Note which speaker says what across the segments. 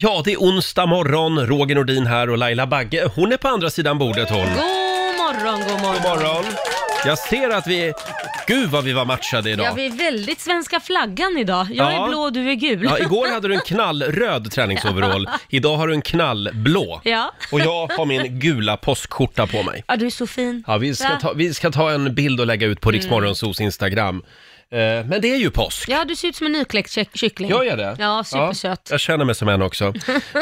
Speaker 1: Ja, det är onsdag morgon. Roger Nordin här och Laila Bagge. Hon är på andra sidan bordet hon.
Speaker 2: God morgon, god morgon.
Speaker 1: God morgon. Jag ser att vi... Gud vad vi var matchade
Speaker 2: Ja,
Speaker 1: idag.
Speaker 2: vi är väldigt svenska flaggan idag. Jag
Speaker 1: Ja.
Speaker 2: är blå och du är gul.
Speaker 1: Ja, igår hade du en knallröd träningsoverall. Idag har du en knallblå.
Speaker 2: Ja.
Speaker 1: Och jag har min gula påskskjorta på mig.
Speaker 2: Ja, du är så fin.
Speaker 1: Ja, vi ska
Speaker 2: Va?
Speaker 1: ta, vi ska ta en bild och lägga ut
Speaker 2: Mm.
Speaker 1: på Riksmorgonsos Instagram. Eh, Men det är ju påsk.
Speaker 2: Ja, du ser ut som en nykläckt kyck- kyckling.
Speaker 1: Gör jag det?
Speaker 2: Ja, supersöt.
Speaker 1: Ja, jag känner mig som en också.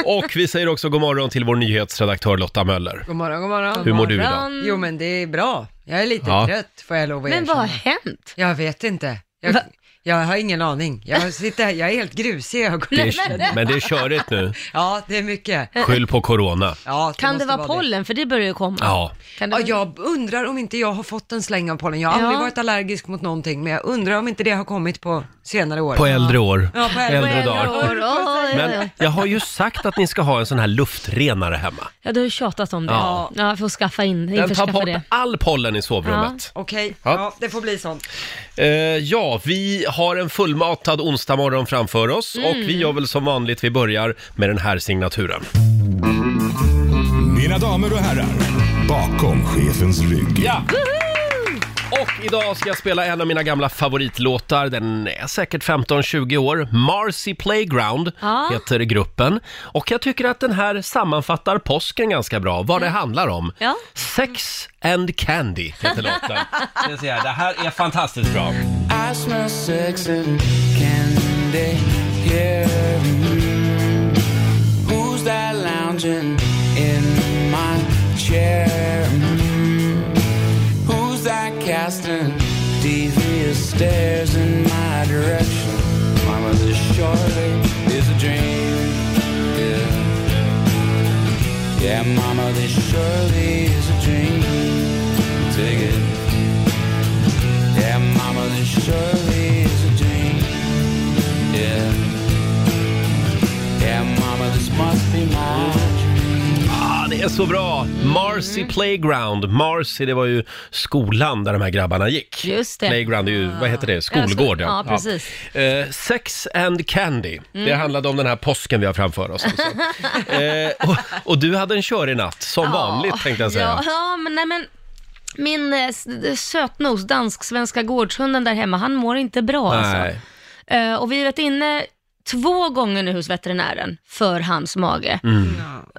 Speaker 1: Och vi säger också god morgon till vår nyhetsredaktör Lotta Möller.
Speaker 3: God morgon, god morgon. Mm.
Speaker 1: Hur mår du
Speaker 2: Morgon.
Speaker 1: idag?
Speaker 3: Jo men det är bra. Jag är lite
Speaker 1: Ja.
Speaker 3: trött får jag lov att
Speaker 2: Men vad
Speaker 3: erkänna.
Speaker 2: har hänt?
Speaker 3: Jag vet inte. Jag,
Speaker 2: Va?
Speaker 3: jag har ingen aning. Jag, sitter, här- jag är helt grusig i
Speaker 1: Det
Speaker 3: ögonen.
Speaker 1: är, men det är körigt nu.
Speaker 3: Ja, det är mycket.
Speaker 1: Skyll på corona.
Speaker 3: Ja,
Speaker 2: Kan det
Speaker 3: måste
Speaker 2: vara pollen? För det börjar ju komma.
Speaker 1: Ja.
Speaker 2: Kan det...
Speaker 3: Ja, jag undrar om inte jag har fått en släng av pollen. Jag har
Speaker 2: Ja.
Speaker 3: aldrig varit allergisk mot någonting, men jag undrar om inte det har kommit på senare år.
Speaker 1: På äldre år.
Speaker 3: Ja, på äldre
Speaker 2: På äldre
Speaker 1: dagar.
Speaker 2: år. Oj, oj,
Speaker 1: Men
Speaker 2: oj.
Speaker 1: jag har ju sagt att ni ska ha en sån här luftrenare hemma.
Speaker 2: Ja, du har ju tjatat om det.
Speaker 1: Ja.
Speaker 2: Ja, jag får skaffa in,
Speaker 1: Den tar
Speaker 2: införskaffa
Speaker 1: bort
Speaker 2: det.
Speaker 1: all pollen i sovrummet.
Speaker 3: Okej,
Speaker 1: Ja.
Speaker 3: ja. det får bli sånt.
Speaker 1: Eh, ja, vi har en fullmatad onsdag morgon framför oss och vi gör väl som vanligt, vi börjar med den här signaturen.
Speaker 4: Mina damer och herrar, bakom chefens rygg.
Speaker 1: Ja! Och idag ska jag spela en av mina gamla favoritlåtar. Den är säkert 15-20 år. Marcy Playground
Speaker 2: Ja.
Speaker 1: heter gruppen. Och jag tycker att den här sammanfattar påsken ganska bra, vad det handlar om.
Speaker 2: Ja.
Speaker 1: Sex and Candy heter låten. Det, ser jag. det här är fantastiskt bra.
Speaker 5: I smell sex and candy here. Mm. Who's that lounging in my chair? Mm. Who's that casting devious stares in my direction? Mama, this surely is a dream. Yeah, yeah Mama, this surely is a dream. Take it. Yeah, mama, this surely is a dream. Yeah. Yeah, mama, this must be my dream.
Speaker 1: Ah, det är så bra! Marcy
Speaker 2: Mm.
Speaker 1: Playground. Marcy, det var ju skolan där de här grabbarna gick.
Speaker 2: Just det.
Speaker 1: Playground är ju, vad heter det, skolgård
Speaker 2: Ja, precis.
Speaker 1: Eh, sex and Candy, det
Speaker 2: Mm.
Speaker 1: handlade om den här påsken vi har framför oss. Alltså. eh, och, och du hade en körig natt, som vanligt tänkte jag säga.
Speaker 2: Ja, ja men nej men. Min eh, s- sötnos, dansk-svenska gårdshunden där hemma, han mår inte bra alltså.
Speaker 1: Nej.
Speaker 2: Eh, och vi har varit inne två gånger nu hos veterinären för hans mage.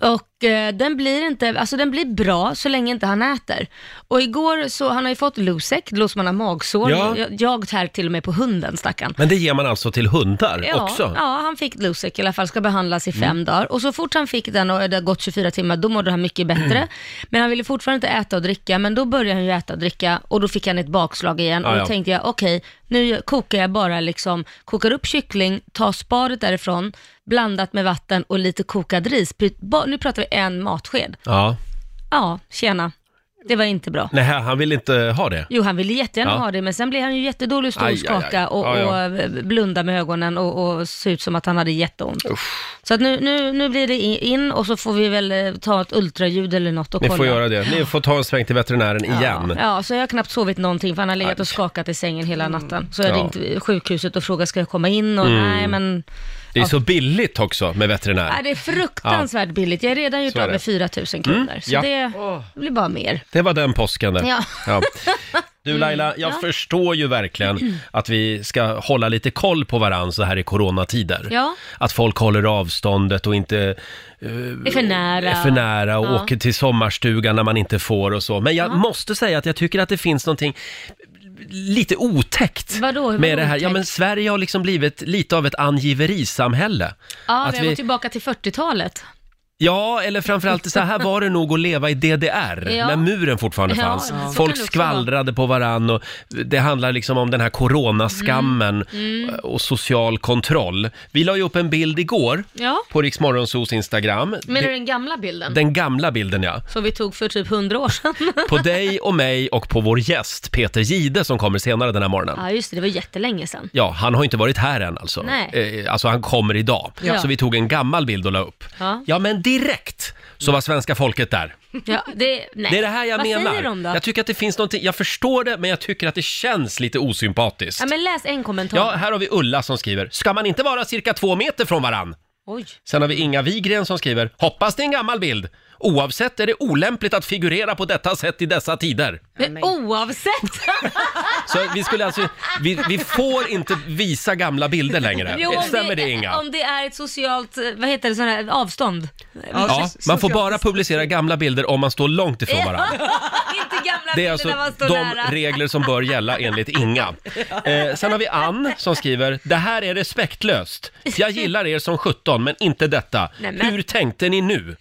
Speaker 2: Och eh, den blir inte, alltså den blir bra så länge inte han äter. Och igår så, han har ju fått Losec, det låter som han har magsår.
Speaker 1: Ja.
Speaker 2: Jag, jag tär till och med på hunden stackarn.
Speaker 1: Men det ger man alltså till hundar
Speaker 2: Ja,
Speaker 1: också? Mm.
Speaker 2: ja, han fick Losec i alla fall, ska behandlas i fem dagar. Och så fort han fick den och det har gått 24 timmar, då mådde han mycket bättre. Men han ville fortfarande inte äta och dricka, men då började han ju äta och dricka och då fick han ett bakslag igen.
Speaker 1: Ja,
Speaker 2: och
Speaker 1: ja.
Speaker 2: då tänkte jag, okej, nu kokar jag bara liksom, kokar upp kyckling, tar sparet därifrån, blandat med vatten och lite kokad ris. Pyt- ba- Nu pratar vi en matsked.
Speaker 1: Ja.
Speaker 2: Ja, tjena. Det var inte bra.
Speaker 1: Nej, han vill inte ha det?
Speaker 2: Jo, han ville jättegärna
Speaker 1: Ja.
Speaker 2: ha det, men sen blev han ju jättedålig och
Speaker 1: Aj, aj, aj.
Speaker 2: storskaka och,
Speaker 1: Ja, ja.
Speaker 2: och eh, blunda med ögonen och, och se ut som att han hade jätteont. Så att nu, nu, nu blir det i- in och så får vi väl eh, ta ett ultraljud eller något och
Speaker 1: Ni
Speaker 2: kolla.
Speaker 1: får göra det. Ni får ta en sväng till veterinären
Speaker 2: Ja,
Speaker 1: igen.
Speaker 2: ja, så jag har knappt sovit någonting för han har legat och skakat i sängen hela natten. Så jag
Speaker 1: Mm. Ja. Mm.
Speaker 2: ringde sjukhuset och frågade, ska jag komma in? Och nej, men
Speaker 1: Det är så billigt också med
Speaker 2: nej,
Speaker 1: veterinär.
Speaker 2: det är fruktansvärt billigt. Jag har redan gjort
Speaker 1: Så är
Speaker 2: av
Speaker 1: det. Mm,
Speaker 2: med 4 000 kronor, så
Speaker 1: ja.
Speaker 2: det blir bara mer.
Speaker 1: Det var den påsken det.
Speaker 2: Ja. Mm.
Speaker 1: Ja. Du Laila, jag förstår ju verkligen att vi ska hålla lite koll på varandra så här i coronatider.
Speaker 2: Ja.
Speaker 1: Att folk håller avståndet och inte
Speaker 2: Det är för nära.
Speaker 1: är för nära och
Speaker 2: Ja.
Speaker 1: åker till sommarstugan när man inte får och så. Men jag måste säga att jag tycker att det finns någonting lite otäckt
Speaker 2: Vadå? Vadå
Speaker 1: med det här. Ja,
Speaker 2: otäckt?
Speaker 1: men Sverige har liksom blivit lite av ett angiverisamhälle.
Speaker 2: Ja, typ-
Speaker 1: Att
Speaker 2: vi har
Speaker 1: vi-
Speaker 2: gått tillbaka till 40-talet.
Speaker 1: Ja, eller framförallt så här var det nog att leva i DDR,
Speaker 2: Ja.
Speaker 1: när muren fortfarande
Speaker 2: Ja,
Speaker 1: fanns.
Speaker 2: så kan
Speaker 1: Folk
Speaker 2: det också
Speaker 1: skvallrade på varann och det handlar liksom om den här coronaskammen
Speaker 2: Mm.
Speaker 1: och social kontroll. Vi la ju upp en bild igår
Speaker 2: Ja.
Speaker 1: på Riksmorgonsos Instagram.
Speaker 2: Menar
Speaker 1: Det-
Speaker 2: du den gamla bilden?
Speaker 1: Den gamla bilden ja.
Speaker 2: som vi tog för typ 100 år sedan.
Speaker 1: På dig och mig och på vår gäst Peter Gide som kommer senare den här morgonen.
Speaker 2: ja, just det, det var jättelänge sedan.
Speaker 1: Ja, han har inte varit här än alltså.
Speaker 2: Nej.
Speaker 1: Eh, Alltså han kommer idag.
Speaker 2: Ja.
Speaker 1: Så vi tog en gammal bild och la upp.
Speaker 2: Ja.
Speaker 1: men direkt så var svenska folket där.
Speaker 2: Ja, det, nej.
Speaker 1: Det är det här jag
Speaker 2: Vad
Speaker 1: menar.
Speaker 2: Vad säger de då?
Speaker 1: Jag tycker att det finns någonting, jag förstår det men jag tycker att det känns lite osympatiskt.
Speaker 2: Ja, men läs en kommentar.
Speaker 1: Ja, här har vi Ulla som skriver, ska man inte vara cirka två meter från varann?
Speaker 2: Oj.
Speaker 1: Sen har vi Inga Wigren som skriver, hoppas det är en gammal bild. Oavsett är det olämpligt att figurera på detta sätt i dessa tider.
Speaker 2: Men oavsett.
Speaker 1: Så vi skulle alltså, vi, vi får inte visa gamla bilder längre.
Speaker 2: Jo, om
Speaker 1: Stämmer det Inga?
Speaker 2: Om det är ett socialt, eh, vad heter det, sån här avstånd.
Speaker 1: Ja, man får bara publicera gamla bilder om man står långt ifrån varandra.
Speaker 2: Inte gamla
Speaker 1: Det
Speaker 2: bilder
Speaker 1: är alltså
Speaker 2: när man står
Speaker 1: de
Speaker 2: nära.
Speaker 1: regler som bör gälla enligt Inga. Eh, sen har vi Ann som skriver, det här är respektlöst. Jag gillar er som 17 men inte detta.
Speaker 2: Nej, men-
Speaker 1: Hur tänkte ni nu?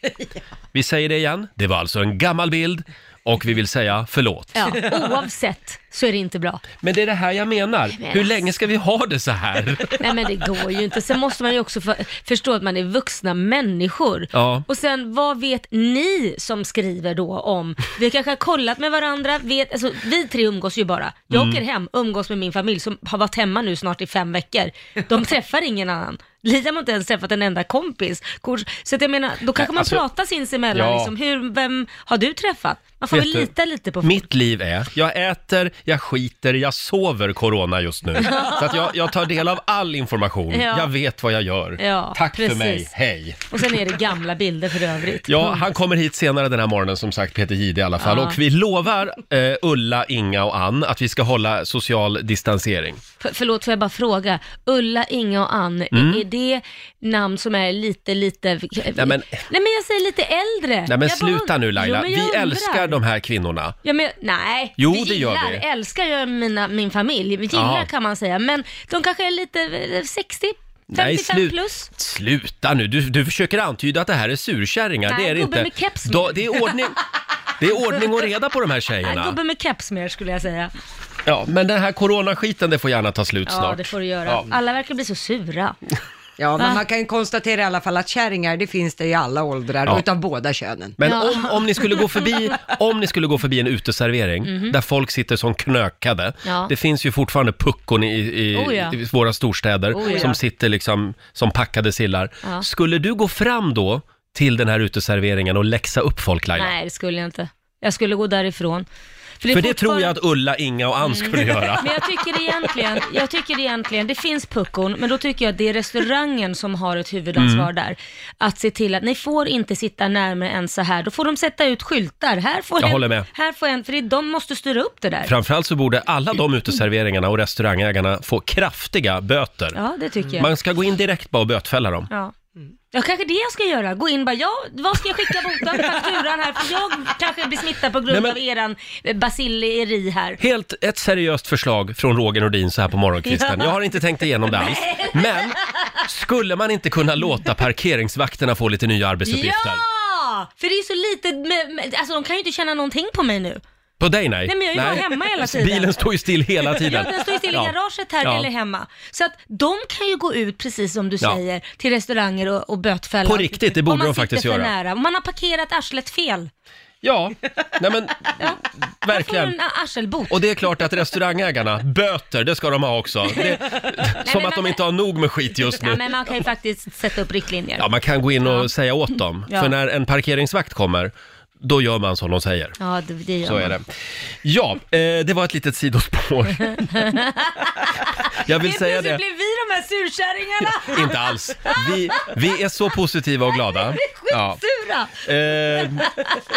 Speaker 1: Vi säger det igen, det var alltså en gammal bild och vi vill säga förlåt.
Speaker 2: Ja, oavsett så är det inte bra.
Speaker 1: Men det är det här jag menar,
Speaker 2: men
Speaker 1: hur länge ska vi ha det så här?
Speaker 2: Nej men det går ju inte. Sen måste man ju också för, förstå att man är vuxna människor.
Speaker 1: Ja.
Speaker 2: Och sen vad vet ni som skriver då om, vi kanske har kollat med varandra, vet, alltså, vi tre umgås ju bara. Jag
Speaker 1: Mm.
Speaker 2: åker hem, umgås med min familj som har varit hemma nu snart i fem veckor. De träffar ingen annan. Liam har inte ens träffat en enda kompis. Kors- Så att jag menar, då kanske man
Speaker 1: alltså-
Speaker 2: pratar sinsemellan.
Speaker 1: Ja.
Speaker 2: Liksom, hur, vem har du träffat? Man får
Speaker 1: Vet
Speaker 2: väl
Speaker 1: du,
Speaker 2: lita lite på folk.
Speaker 1: Mitt liv är, jag äter, jag skiter, jag sover corona just nu. Så att jag, jag tar del av all information,
Speaker 2: Ja.
Speaker 1: jag vet vad jag gör.
Speaker 2: Ja,
Speaker 1: Tack för
Speaker 2: precis.
Speaker 1: mig, hej!
Speaker 2: Och sen är det gamla bilder för övrigt.
Speaker 1: Ja, han kommer hit senare den här morgonen som sagt, Peter Jihde i alla fall. Och vi lovar eh, Ulla, Inga och Ann att vi ska hålla social distansering.
Speaker 2: För, förlåt, får jag bara fråga? Ulla, Inga och Ann, är-
Speaker 1: Mm.
Speaker 2: är det namn som är lite, lite... Nej
Speaker 1: men-
Speaker 2: jag säger lite äldre.
Speaker 1: Nej men
Speaker 2: jag bara-
Speaker 1: sluta nu Laila,
Speaker 2: Jo, men
Speaker 1: vi
Speaker 2: jag undrar.
Speaker 1: älskar de här kvinnorna.
Speaker 2: Ja, men, nej,
Speaker 1: Jo,
Speaker 2: vi
Speaker 1: det gör
Speaker 2: gillar,
Speaker 1: vi.
Speaker 2: älskar ju mina, min familj. Vi gillar
Speaker 1: Ja.
Speaker 2: kan man säga, men de kanske är lite eh, 60, 55
Speaker 1: Nej, slut-
Speaker 2: plus.
Speaker 1: Sluta nu, du, du försöker antyda att det här är surkärringar,
Speaker 2: Nej,
Speaker 1: det är det
Speaker 2: gubben
Speaker 1: inte.
Speaker 2: med keps.
Speaker 1: Då- det, är ordning, det är ordning och reda på de här
Speaker 2: Nej,
Speaker 1: tjejerna.
Speaker 2: Gubbe med keps mer skulle jag säga.
Speaker 1: Ja, men den här coronaskiten, det får gärna ta slut
Speaker 2: Ja,
Speaker 1: snart.
Speaker 2: det får du göra.
Speaker 1: Ja.
Speaker 2: Alla verkar bli så sura.
Speaker 3: Ja,
Speaker 2: Va?
Speaker 3: men man kan ju konstatera i alla fall att kärringar, det finns det i alla åldrar
Speaker 1: Ja.
Speaker 3: och utav båda könen.
Speaker 1: Men
Speaker 2: Ja.
Speaker 1: om, om, ni skulle gå förbi, om ni skulle gå förbi en uteservering där folk sitter som knökade.
Speaker 2: Mhm. Ja.
Speaker 1: Det finns ju fortfarande puckon i, i,
Speaker 2: Oh ja.
Speaker 1: i våra storstäder
Speaker 2: Oh ja.
Speaker 1: som sitter liksom som packade sillar.
Speaker 2: Ja.
Speaker 1: Skulle du gå fram då till den här uteserveringen och läxa upp folk Laila?
Speaker 2: Nej, det skulle jag inte. Jag skulle gå därifrån. är
Speaker 1: För det tror
Speaker 2: fortfarande-
Speaker 1: jag att Ulla, Inga och Ann skulle
Speaker 2: Mm.
Speaker 1: göra.
Speaker 2: Men jag tycker egentligen, jag tycker egentligen, det finns puckon, men då tycker jag att det är restaurangen som har ett
Speaker 1: Mm.
Speaker 2: huvudansvar där. Att se till att ni får inte sitta närmare än så här, då får de sätta ut skyltar. Här får
Speaker 1: Jag
Speaker 2: en,
Speaker 1: håller med.
Speaker 2: Här får en, för det, de måste styra upp det där.
Speaker 1: Framförallt så borde alla de uteserveringarna och restaurangägarna få kraftiga böter.
Speaker 2: Ja, det tycker jag.
Speaker 1: Man ska gå in direkt bara och bötfälla dem.
Speaker 2: Ja. Ja, kanske det jag ska göra. Gå in och bara, ja, vad ska jag skicka botan, fakturan här? För jag kanske blir smittad på grund
Speaker 1: Nej, men-
Speaker 2: av eran eh, basilleri här.
Speaker 1: Helt ett seriöst förslag från Roger Nordin så här på morgonkvisten. Jag har inte tänkt igenom det alls. Men skulle man inte kunna låta parkeringsvakterna få lite nya arbetsuppgifter?
Speaker 2: Ja! För det är ju så lite, med, med, alltså de kan ju inte känna någonting på mig nu.
Speaker 1: På dig nej.
Speaker 2: Nej, men jag är ju bara hemma hela tiden.
Speaker 1: Bilen står ju still hela
Speaker 2: Ja,
Speaker 1: tiden.
Speaker 2: den står ju still i garaget här
Speaker 1: Ja.
Speaker 2: eller hemma. Så att de kan ju gå ut, precis som du
Speaker 1: Ja.
Speaker 2: säger, till restauranger och, och bötfälla.
Speaker 1: På riktigt, det borde
Speaker 2: Om man
Speaker 1: de faktiskt
Speaker 2: sitter för
Speaker 1: göra.
Speaker 2: Nära. Om man har parkerat arslet fel,
Speaker 1: Ja, nej men
Speaker 2: får man en
Speaker 1: verkligen.
Speaker 2: arselbot.
Speaker 1: Och det är klart att restaurangägarna, böter, det ska de ha också. Det, som
Speaker 2: men
Speaker 1: att de
Speaker 2: man-
Speaker 1: inte har nog med skit just
Speaker 2: Ja,
Speaker 1: nu.
Speaker 2: men man kan ju faktiskt sätta upp riktlinjer.
Speaker 1: Ja, man kan gå in och säga åt dem.
Speaker 2: Ja.
Speaker 1: För när en parkeringsvakt kommer, då gör man som de säger.
Speaker 2: Ja, det, det gör
Speaker 1: Så
Speaker 2: man.
Speaker 1: är det. Ja, eh, det var ett litet sidospår. Jag vill
Speaker 2: Helt
Speaker 1: säga
Speaker 2: plötsligt
Speaker 1: det.
Speaker 2: blir vi de här surkärringarna.
Speaker 1: Inte alls. Vi, vi är så positiva och glada. Ja.
Speaker 2: Skitsura!
Speaker 1: Eh,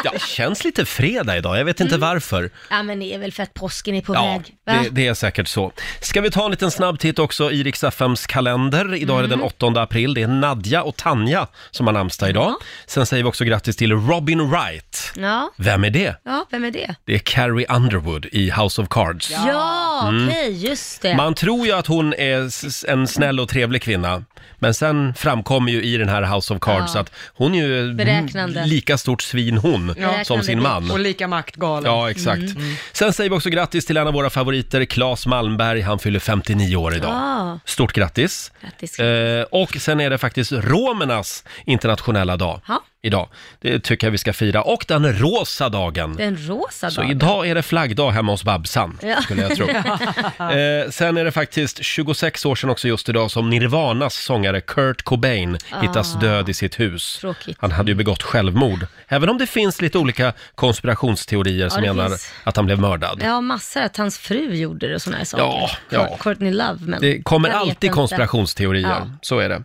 Speaker 1: ja, det känns lite fredag idag, jag vet inte varför.
Speaker 2: Ja, men det är väl för att påsken är på
Speaker 1: Ja,
Speaker 2: Mm. väg. Va?
Speaker 1: det, det är säkert så. Ska vi ta en liten snabb titt också i riks kalender. Idag är det
Speaker 2: Mm.
Speaker 1: den 8 april, det är Nadja och Tanja som har namnsdag idag. Sen säger vi också grattis till Robin Wright.
Speaker 2: Ja.
Speaker 1: Vem är det?
Speaker 2: ja, vem är det?
Speaker 1: Det är Carrie Underwood i House of Cards.
Speaker 2: Ja, okej, just det.
Speaker 1: Mm. Man tror ju att hon är s- en snäll och trevlig kvinna. Men sen framkommer ju i den här House of Cards
Speaker 2: Ja.
Speaker 1: att hon är ju
Speaker 2: Beräknande.
Speaker 1: l- lika stort svin hon som
Speaker 2: Beräknande
Speaker 1: sin
Speaker 2: bitch.
Speaker 1: man.
Speaker 3: Och lika maktgalen.
Speaker 1: Ja, exakt.
Speaker 2: Mm.
Speaker 1: Sen säger vi också grattis till en av våra favoriter, Claes Malmberg. Han fyller 59 år idag.
Speaker 2: Ja.
Speaker 1: Stort grattis.
Speaker 2: Grattis.
Speaker 1: Eh, och sen är det faktiskt romernas internationella dag.
Speaker 2: Ja.
Speaker 1: idag. Det tycker jag vi ska fira. Och den rosa dagen.
Speaker 2: Den rosa
Speaker 1: Så
Speaker 2: dagen.
Speaker 1: Alltså, idag är det flaggdag hemma hos Babsan,
Speaker 2: Ja.
Speaker 1: skulle jag tro. Eh, sen är det faktiskt 26 år sedan också just idag som Nirvanas sångare Kurt Cobain hittas död i sitt hus.
Speaker 2: Ah. Tråkigt.
Speaker 1: Han hade ju begått självmord. Även om det finns lite olika konspirationsteorier som
Speaker 2: det
Speaker 1: menar
Speaker 2: finns.
Speaker 1: att han blev mördad.
Speaker 2: Ja, massor att hans fru gjorde det och sådana här saker.
Speaker 1: Ja, ja.
Speaker 2: Courtney Love, men...
Speaker 1: Det kommer
Speaker 2: jag vet
Speaker 1: alltid
Speaker 2: inte.
Speaker 1: konspirationsteorier,
Speaker 2: Ja.
Speaker 1: så är det.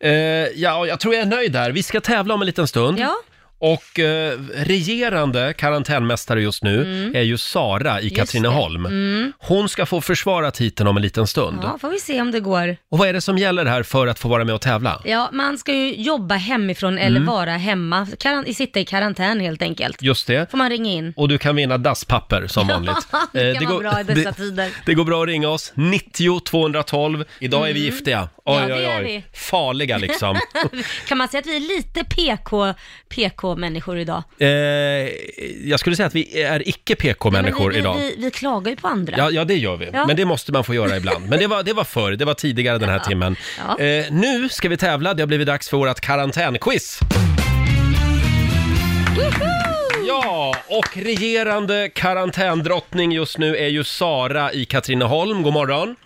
Speaker 1: Eh, ja, och jag tror jag är nöjd där. Vi ska tävla om en liten stund.
Speaker 2: Ja.
Speaker 1: Och eh, regerande karantänmästare just nu är ju Sara
Speaker 2: Mm.
Speaker 1: i
Speaker 2: det. Mm.
Speaker 1: Katrineholm. Hon ska få försvara titeln om en liten stund.
Speaker 2: Ja, får vi se om det går.
Speaker 1: Och vad är det som gäller här för att få vara med och tävla?
Speaker 2: Ja, man ska ju jobba hemifrån
Speaker 1: Mm.
Speaker 2: eller vara hemma, Karan- sitta i karantän helt enkelt.
Speaker 1: Just det.
Speaker 2: Får man ringa in.
Speaker 1: Och du kan vinna dasspapper som vanligt.
Speaker 2: det
Speaker 1: Eh,
Speaker 2: kan vara bra i dessa tider.
Speaker 1: Det går bra att ringa oss, 90 212. Idag är vi giftiga. Oj,
Speaker 2: Mm. Ja, det
Speaker 1: oj,
Speaker 2: är
Speaker 1: oj.
Speaker 2: vi.
Speaker 1: Farliga liksom.
Speaker 2: Kan man säga att vi är lite PK, PK-människor idag?
Speaker 1: Eh, jag skulle säga att vi är icke PK-människor
Speaker 2: vi,
Speaker 1: idag.
Speaker 2: eh, Vi, vi, vi klagar ju på andra.
Speaker 1: Ja, ja, det gör vi.
Speaker 2: Ja.
Speaker 1: Men det måste man få göra ibland. Men det var, det var förr, det var tidigare den här timmen.
Speaker 2: Ja.
Speaker 1: Eh, nu ska vi tävla, det har blivit dags för vårt karantänquiz. Ja, och regerande karantändrottning just nu är ju Sara i Katrineholm. God morgon!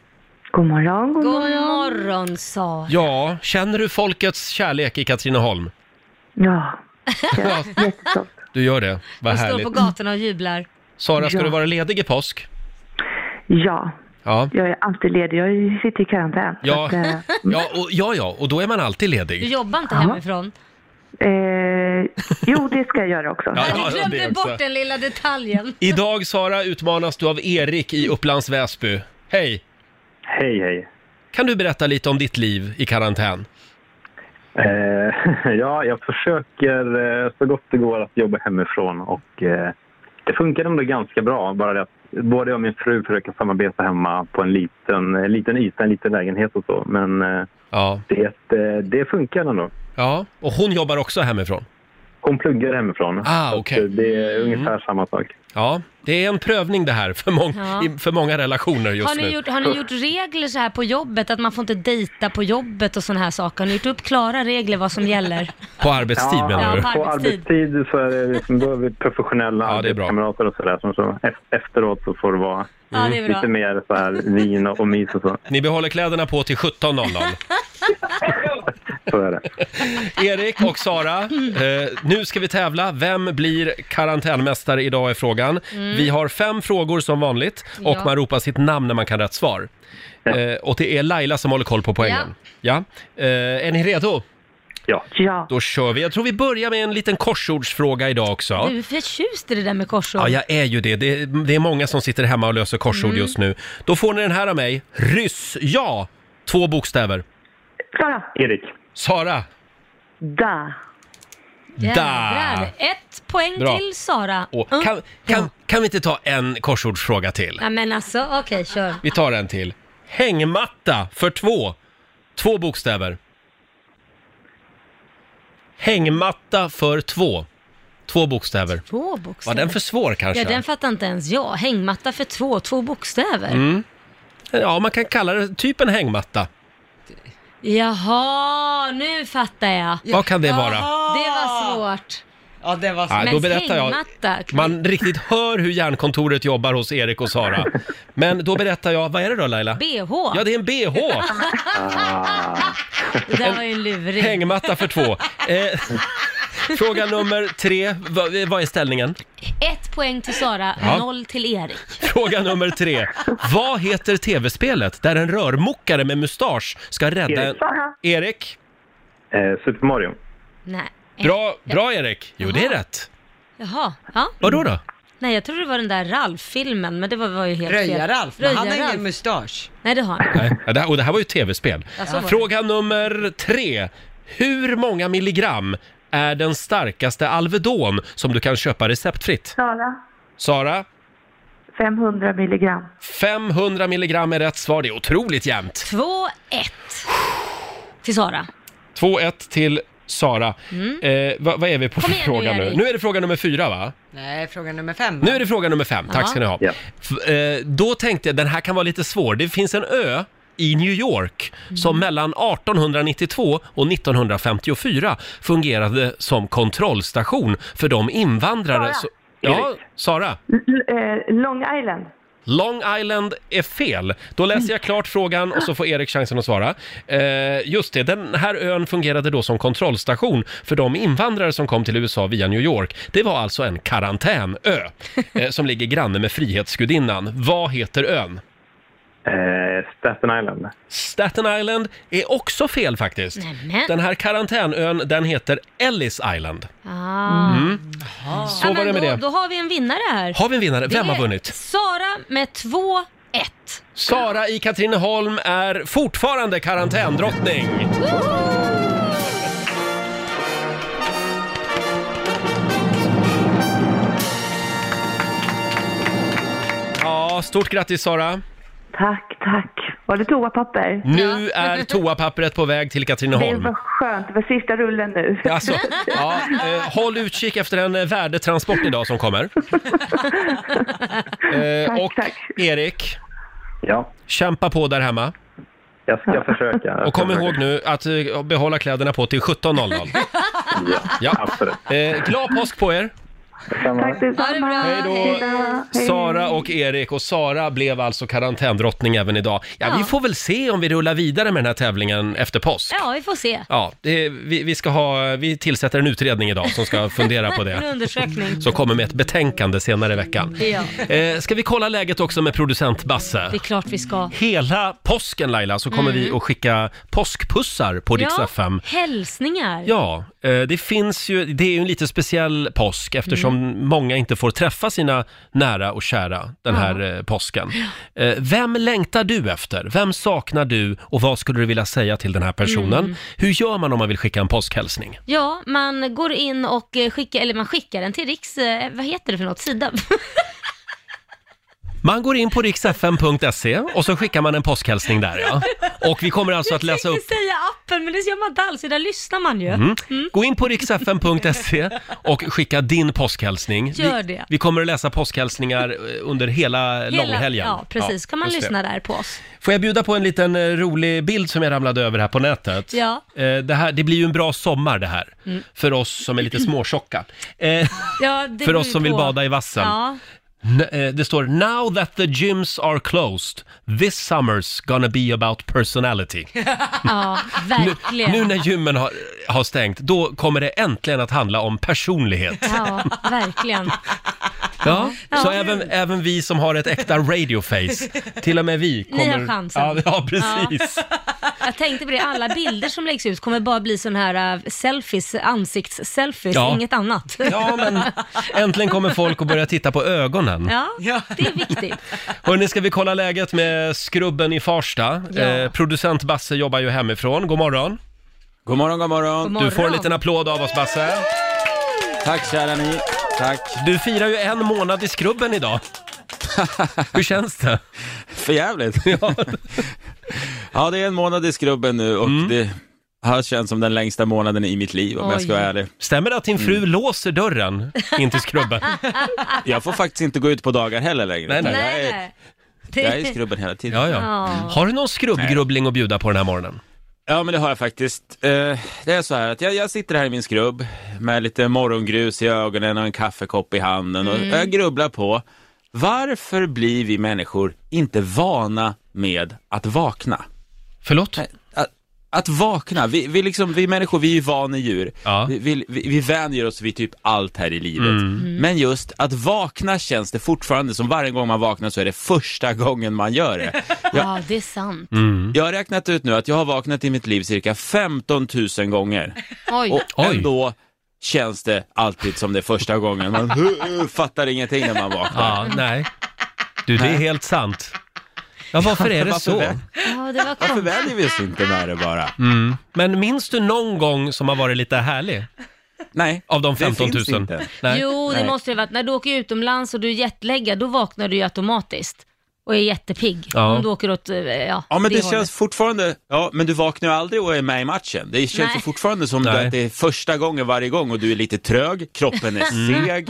Speaker 6: God morgon, god
Speaker 2: God
Speaker 6: morgon.
Speaker 2: morgon, sa
Speaker 1: Ja, känner du folkets kärlek i Katrineholm?
Speaker 6: Ja,
Speaker 1: Ja,
Speaker 6: jättestolt.
Speaker 1: du gör det. Vad
Speaker 2: Vi står på
Speaker 1: härligt.
Speaker 2: gatorna och jublar.
Speaker 1: Sara, ska
Speaker 6: Ja.
Speaker 1: du vara ledig i påsk?
Speaker 6: Ja,
Speaker 1: Ja.
Speaker 6: jag är alltid ledig. Jag sitter i karantän. Så
Speaker 1: Ja.
Speaker 6: att, eh,
Speaker 1: Ja, och, ja, ja, och då är man alltid
Speaker 2: Du
Speaker 1: ledig.
Speaker 2: jobbar inte hemifrån.
Speaker 6: eh, jo, det ska jag göra också.
Speaker 1: Ja,
Speaker 2: Du
Speaker 1: det
Speaker 2: glömde
Speaker 1: också.
Speaker 2: bort den lilla detaljen.
Speaker 1: Idag Sara utmanas du av Erik i Upplands Väsby. Hej!
Speaker 7: Hej, hej.
Speaker 1: Kan du berätta lite om ditt liv i karantän?
Speaker 7: Eh, ja, jag försöker eh, så gott det går att jobba hemifrån och eh, det funkar ändå ganska bra. Bara det att både jag och min fru försöker samarbeta hemma på en liten, eh, liten yta, en liten lägenhet och så. Men eh,
Speaker 1: Ja.
Speaker 7: det, eh, det funkar ändå.
Speaker 1: ja. Och hon jobbar också hemifrån?
Speaker 7: Hon pluggar hemifrån.
Speaker 1: Ah,
Speaker 7: Så
Speaker 1: okej.
Speaker 7: Det är ungefär samma sak.
Speaker 1: Ja, det är en prövning det här för, mång-
Speaker 2: Ja.
Speaker 1: i- för många relationer
Speaker 2: Har
Speaker 1: just
Speaker 2: ni,
Speaker 1: nu.
Speaker 2: gjort, har ni gjort regler så här på jobbet, att man får inte dejta på jobbet och sådana här saker? Har ni gjort upp klara regler vad som gäller?
Speaker 1: På arbetstid menar
Speaker 2: Ja,
Speaker 1: du?
Speaker 2: på
Speaker 7: på
Speaker 2: arbetstid.
Speaker 7: arbetstid så är det liksom, då är vi professionella
Speaker 1: Ja, det är bra.
Speaker 7: arbetskamrater och sådär. Så, så ef- efteråt så får det vara
Speaker 2: Ja, det är bra.
Speaker 7: lite mer så här, vin och, och mys och så.
Speaker 1: Ni behåller kläderna på till 17.00.
Speaker 7: Så är det.
Speaker 1: Erik och Sara, eh, nu ska vi tävla. Vem blir karantänmästare idag är frågan. Vi har fem frågor som vanligt och
Speaker 2: Ja.
Speaker 1: man ropar sitt namn när man kan rätt svar. Eh, och det är Laila som håller koll på poängen. Ja. Eh, är ni redo?
Speaker 6: Ja,
Speaker 1: Då kör vi. Jag tror vi börjar med en liten korsordsfråga idag också.
Speaker 2: Du är förtjust i det där med korsord.
Speaker 1: Ja, jag är ju det. Det är, det är många som sitter hemma och löser korsord just nu. Då får ni den här av mig. Ryss, ja! Två bokstäver.
Speaker 6: Klara.
Speaker 7: Erik.
Speaker 1: Sara,
Speaker 6: Da.
Speaker 1: da!
Speaker 2: Jädrar. Ett poäng
Speaker 1: Bra.
Speaker 2: till Sara.
Speaker 1: Och
Speaker 2: Mm.
Speaker 1: kan, kan, kan vi inte ta en korsordsfråga till?
Speaker 2: Ja, men alltså, okej, kör.
Speaker 1: Vi tar en till. Hängmatta för två. Två bokstäver. Hängmatta för två. Två bokstäver.
Speaker 2: Två
Speaker 1: Var
Speaker 2: bokstäver.
Speaker 1: den för svår kanske?
Speaker 2: Ja, den fattar inte ens jag. Hängmatta för två, två bokstäver.
Speaker 1: Mm. ja, man kan kalla det typ en hängmatta.
Speaker 2: Jaha, nu fattar jag.
Speaker 1: Vad kan det vara?
Speaker 2: Det var svårt.
Speaker 3: Ja, det var så.
Speaker 1: Ja,
Speaker 2: Men
Speaker 1: då berättar jag.
Speaker 2: hängmatta?
Speaker 1: Man riktigt hör hur hjärnkontoret jobbar hos Erik och Sara. Men då berättar jag, vad är det då Laila?
Speaker 2: BH?
Speaker 1: Ja, det är en bh!
Speaker 2: det där var ju en luring.
Speaker 1: Hängmatta för två. Eh, fråga nummer tre, vad, vad är ställningen?
Speaker 2: Ett poäng till Sara,
Speaker 1: Ja.
Speaker 2: noll till Erik.
Speaker 1: Fråga nummer tre. Vad heter tv-spelet där en rörmokare med mustasch ska rädda en...
Speaker 7: Erik.
Speaker 1: Erik?
Speaker 7: Eh, Super Mario.
Speaker 2: Nej.
Speaker 1: Bra, bra Erik! Jo, det är rätt.
Speaker 2: Jaha. Ja.
Speaker 1: Vadå då?
Speaker 2: Nej, jag trodde det var den där Ralf-filmen, men det var, var ju helt fel.
Speaker 3: Röja-Ralf, men han har
Speaker 2: Röja-Ralf.
Speaker 3: ingen mustasch.
Speaker 2: Nej, det har han.
Speaker 1: Nej, ja, det här, och det här var ju tv-spel.
Speaker 2: Ja, så var det.
Speaker 1: Fråga nummer tre. Hur många milligram är den starkaste Alvedon som du kan köpa receptfritt?
Speaker 6: Klara.
Speaker 1: Sara?
Speaker 6: 500 milligram.
Speaker 1: 500 milligram är rätt svar. Det är otroligt jämnt.
Speaker 2: 2-1 till Sara.
Speaker 1: 2-1 till Sara. Eh, vad, vad är vi på
Speaker 2: Mm. Kom igen
Speaker 1: för
Speaker 2: nu,
Speaker 1: fråga nu?
Speaker 2: Erik.
Speaker 1: Nu är det fråga nummer fyra, va?
Speaker 3: Nej, fråga nummer fem.
Speaker 1: Nu är det fråga nummer fem, tack ska ni ha.
Speaker 7: Ja.
Speaker 1: F- eh, då tänkte jag, den här kan vara lite svår. Det finns en ö i New York som mellan 1892 och 1954 fungerade som kontrollstation för de invandrare
Speaker 6: Sara.
Speaker 1: som... Ja, Sara.
Speaker 6: L- eh, Long Island.
Speaker 1: Long Island är fel. Då läser jag klart frågan och så får Erik chansen att svara. Eh, just det, den här ön fungerade då som kontrollstation för de invandrare som kom till USA via New York. Det var alltså en karantänö eh, som ligger granne med Frihetsgudinnan. Vad heter ön?
Speaker 7: Eh, Staten Island.
Speaker 1: Staten Island är också fel faktiskt.
Speaker 2: Nämen.
Speaker 1: Den här karantänön, den heter Ellis Island.
Speaker 2: Ah.
Speaker 1: Mhm. Så
Speaker 2: Ja,
Speaker 1: var
Speaker 2: men
Speaker 1: det med
Speaker 2: då,
Speaker 1: det.
Speaker 2: då har vi en vinnare här.
Speaker 1: Har vi en vinnare? Vem har
Speaker 2: Det är
Speaker 1: vunnit?
Speaker 2: Sara med 2-1.
Speaker 1: Sara i Katrineholm är fortfarande karantändrottning. Ja, stort grattis Sara!
Speaker 6: Tack, tack. Var det toapapper?
Speaker 1: Nu är toapappret på väg till
Speaker 6: Det
Speaker 1: Katrineholm.
Speaker 6: var skönt. Det var sista rullen nu.
Speaker 1: Alltså, ja, eh, håll utkik efter en eh, värdetransport idag som kommer. Eh,
Speaker 6: Tack,
Speaker 1: och
Speaker 6: tack.
Speaker 1: Erik,
Speaker 7: Ja,
Speaker 1: kämpa på där hemma.
Speaker 7: jag ska försöka. Jag ska
Speaker 1: Och kom
Speaker 7: försöka.
Speaker 1: ihåg nu att eh, behålla kläderna på till 17.00.
Speaker 7: Ja,
Speaker 1: Ja.
Speaker 7: absolut.
Speaker 1: Eh, glad påsk på er!
Speaker 6: Tack detsamma.
Speaker 2: bra. Hej
Speaker 1: då.
Speaker 6: Hej.
Speaker 1: Sara och Erik. Och Sara blev alltså karantändrottning även idag. Ja,
Speaker 2: Ja.
Speaker 1: vi får väl se om vi rullar vidare med den här tävlingen efter påsk.
Speaker 2: Ja, vi får se.
Speaker 1: Ja, det, vi, vi, ska ha, vi tillsätter en utredning idag som ska fundera på
Speaker 2: En
Speaker 1: det.
Speaker 2: undersökning.
Speaker 1: Så kommer med ett betänkande senare i veckan.
Speaker 2: Ja,
Speaker 1: Eh, ska vi kolla läget också med producent Basse?
Speaker 2: det är klart vi ska.
Speaker 1: Hela påsken Laila så kommer vi att skicka påskpussar på Rix
Speaker 2: Ja,
Speaker 1: FM.
Speaker 2: hälsningar.
Speaker 1: Ja, eh, det finns ju, det är ju en lite speciell påsk eftersom
Speaker 2: Mm.
Speaker 1: många inte får träffa sina nära och kära den här eh, påsken. Eh, Vem längtar du efter? Vem saknar du och vad skulle du vilja säga till den här personen?
Speaker 2: Mm.
Speaker 1: Hur gör man om man vill skicka en påskhälsning?
Speaker 2: Ja, man går in och eh, skickar, eller man skickar den till Riks, eh, vad heter det för något, sida?
Speaker 1: Man går in på riksfm.se och så skickar man en påskhälsning där ja. Och vi kommer alltså att läsa upp
Speaker 2: tänkte säga appen, men det gör man inte alls, där lyssnar man ju.
Speaker 1: Mm. Gå in på riksfm.se och skicka din påskhälsning.
Speaker 2: Gör
Speaker 1: Vi,
Speaker 2: det.
Speaker 1: vi kommer att läsa påskhälsningar eh, under hela, långhelgen.
Speaker 2: Ja, precis. kan man
Speaker 1: just det.
Speaker 2: lyssna där på oss.
Speaker 1: Får jag bjuda på en liten eh, rolig bild som jag ramlade över här på nätet?
Speaker 2: Ja. Mm.
Speaker 1: Eh, det, här, det blir ju en bra sommar det här, för oss som är lite småtjocka. Eh,
Speaker 2: Ja, det
Speaker 1: För
Speaker 2: beror
Speaker 1: oss
Speaker 2: ju
Speaker 1: som vill
Speaker 2: på.
Speaker 1: bada i vassen.
Speaker 2: Ja.
Speaker 1: n- eh, det står “Now that the gyms are closed, this summer's gonna be about personality”.
Speaker 2: Ja, verkligen.
Speaker 1: Nu när gymmen har, har stängt, då kommer det äntligen att handla om personlighet.
Speaker 2: Ja, verkligen.
Speaker 1: Ja, så
Speaker 2: Ja.
Speaker 1: även, även vi som har ett äkta radioface, till och med vi kommer...
Speaker 2: har chansen.
Speaker 1: Ja, ja precis.
Speaker 2: Jag tänkte på det, alla bilder som läggs ut kommer bara bli sån här äh, selfies, ansiktsselfies,
Speaker 1: Ja.
Speaker 2: inget annat.
Speaker 1: Ja. men äntligen kommer folk att börja titta på ögonen.
Speaker 2: Ja,
Speaker 3: Ja.
Speaker 2: det är viktigt.
Speaker 1: Hörni, ska vi kolla läget med skrubben i Farsta?
Speaker 2: Ja.
Speaker 1: Eh, producent Basse jobbar ju hemifrån. God morgon.
Speaker 5: God morgon, god morgon.
Speaker 2: God morgon.
Speaker 1: Du får en liten applåd av oss, Basse.
Speaker 5: Tack kära ni. Tack.
Speaker 1: Du firar ju en månad i skrubben idag. Hur känns det?
Speaker 5: För jävligt. Ja. det är en månad i skrubben nu och det har känts som den längsta månaden i mitt liv om jag ska
Speaker 2: Oj.
Speaker 5: vara ärlig.
Speaker 1: Stämmer det att din fru låser dörren in till skrubben?
Speaker 5: Jag får faktiskt inte gå ut på dagar heller längre.
Speaker 1: Nej, nej.
Speaker 5: Jag, är, jag är i skrubben hela tiden.
Speaker 1: Ja, ja. Har du någon skrubbgrubbling att bjuda på den här morgonen?
Speaker 5: Ja, men det har jag faktiskt. Eh, det är så här att jag, jag sitter här i min skrubb med lite morgongrus i ögonen och en kaffekopp i handen och jag grubblar på varför blir vi människor inte vana med att vakna? Eh,
Speaker 1: Förlåt?
Speaker 5: Att, att vakna, vi, vi, liksom, vi människor vi är ju vanedjur.
Speaker 1: Ja.
Speaker 5: Vi, vi, vi vi vänjer oss vid typ allt här i livet. Men just att vakna känns det fortfarande som varje gång man vaknar så är det första gången man gör det.
Speaker 2: Ja, det är sant.
Speaker 1: Mm.
Speaker 5: Jag har räknat ut nu att jag har vaknat i mitt liv cirka 15 000 gånger.
Speaker 2: Oj.
Speaker 5: Och
Speaker 1: Oj.
Speaker 5: ändå känns det alltid som det är första gången. Man fattar ingenting när man vaknar.
Speaker 1: Ja, nej. Du, det är helt sant. Ja, varför är det
Speaker 5: Varför
Speaker 1: så?
Speaker 5: vä-
Speaker 2: Ja, det var
Speaker 5: Varför
Speaker 2: konstigt.
Speaker 5: väljer vi oss inte med det bara?
Speaker 1: Mm. Men minns du någon gång som har varit lite härlig?
Speaker 5: Nej,
Speaker 1: Av de
Speaker 5: det
Speaker 1: 15
Speaker 5: finns
Speaker 1: 000?
Speaker 5: inte.
Speaker 1: Nej.
Speaker 2: Jo, det
Speaker 5: Nej.
Speaker 2: måste det varit. När du åker utomlands och du är jetlaggad, då vaknar du ju automatiskt. och är jättepigg.
Speaker 1: Ja.
Speaker 2: Om du åker åt, eh, ja,
Speaker 5: Ja, men det,
Speaker 2: det hållet.
Speaker 5: känns fortfarande... Ja, men du vaknar ju aldrig och är med i matchen. Det känns
Speaker 2: Nej.
Speaker 5: ju fortfarande som
Speaker 1: Nej.
Speaker 5: att det är första gången varje gång och du är lite trög, kroppen är
Speaker 1: Mm.
Speaker 5: seg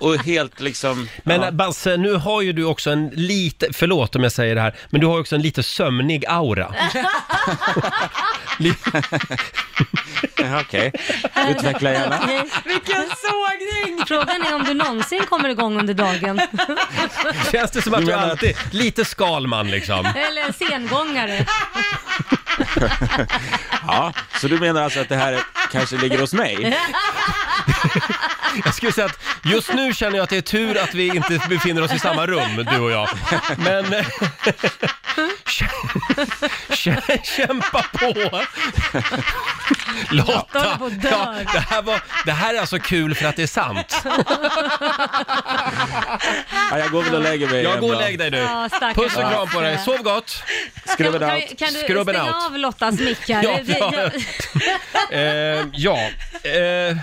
Speaker 5: och helt liksom...
Speaker 1: Men
Speaker 5: ja.
Speaker 1: Basse, nu har ju du också en lite, förlåt om jag säger det här, men du har ju också en lite sömnig aura.
Speaker 5: Ja, Okej, utveckla gärna.
Speaker 2: Okej.
Speaker 3: Vilken sågning!
Speaker 2: Frågan är om du någonsin kommer igång under dagen.
Speaker 1: Känns det som att
Speaker 5: Du
Speaker 1: du
Speaker 5: menar-
Speaker 1: alltid, lite Skalman liksom?
Speaker 2: Eller en sengångare.
Speaker 5: Ja, så du menar alltså att det här kanske ligger hos mig?
Speaker 1: Jag skulle säga att just nu känner jag att det är tur att vi inte befinner oss i samma rum, du och jag. Men... Kä- kä- Kämpa på!
Speaker 2: Jag håller
Speaker 1: Lotta!
Speaker 2: på att dö.
Speaker 1: det, här var, det här är alltså kul för att det är sant.
Speaker 5: Ja, jag går väl och lägger mig
Speaker 1: Jag
Speaker 5: igen
Speaker 1: går och
Speaker 5: då.
Speaker 1: lägger dig nu.
Speaker 2: Ja, stackars
Speaker 1: Puss och
Speaker 2: Lasse.
Speaker 1: kram på dig, sov gott!
Speaker 5: Skrubben
Speaker 2: kan,
Speaker 5: out.
Speaker 2: kan, kan du
Speaker 1: Skrubben
Speaker 2: stänga
Speaker 1: out.
Speaker 2: av Lottas mick här?
Speaker 1: Ja,
Speaker 2: Det- det-
Speaker 1: ja. Eh, ja. Eh,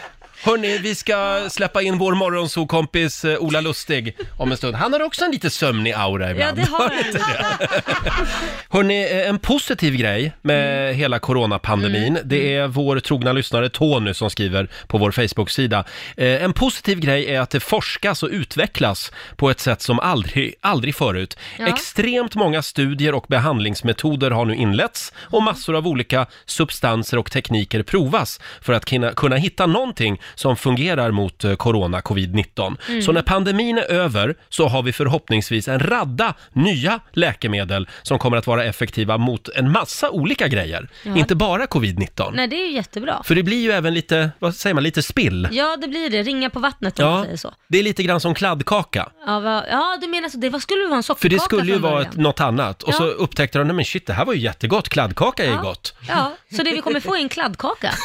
Speaker 1: hörni, vi ska släppa in vår morgonsokompis eh, Ola Lustig om en stund. Han har också en lite sömnig aura
Speaker 2: ja,
Speaker 1: ibland.
Speaker 2: det har han.
Speaker 1: Hörni, eh, en positiv grej med
Speaker 2: Mm.
Speaker 1: hela coronapandemin, det är vår trogna lyssnare Tony som skriver på vår Facebook-sida. Eh, En positiv grej är att det forskas och utvecklas på ett sätt som aldrig, aldrig förut.
Speaker 2: Ja.
Speaker 1: Extremt många studier och behandlingsmetoder har nu inletts och massor av olika substanser och tekniker provas för att kunna, kunna hitta någonting som fungerar mot eh, corona, covid-19.
Speaker 2: Mm.
Speaker 1: Så när pandemin är över så har vi förhoppningsvis en radda nya läkemedel som kommer att vara effektiva mot en massa olika grejer.
Speaker 2: Ja.
Speaker 1: Inte bara covid-19.
Speaker 2: Nej, det är ju jättebra.
Speaker 1: För det blir ju även lite, vad säger man, lite spill.
Speaker 2: Ja, det blir det. Ringa på vattnet om man
Speaker 1: Ja,
Speaker 2: säger så.
Speaker 1: det är lite grann som kladdkaka.
Speaker 2: Ja, vad, ja, du menar så. Det vad skulle det vara en sockerkaka
Speaker 1: För det skulle ju
Speaker 2: från
Speaker 1: vara
Speaker 2: början?
Speaker 1: ett, något annat. Och så
Speaker 2: Ja.
Speaker 1: upptäckte de, nej men shit, det här var ju jättegott, kladdkaka är ju
Speaker 2: Ja.
Speaker 1: gott.
Speaker 2: Ja, så det vi kommer få är en kladdkaka?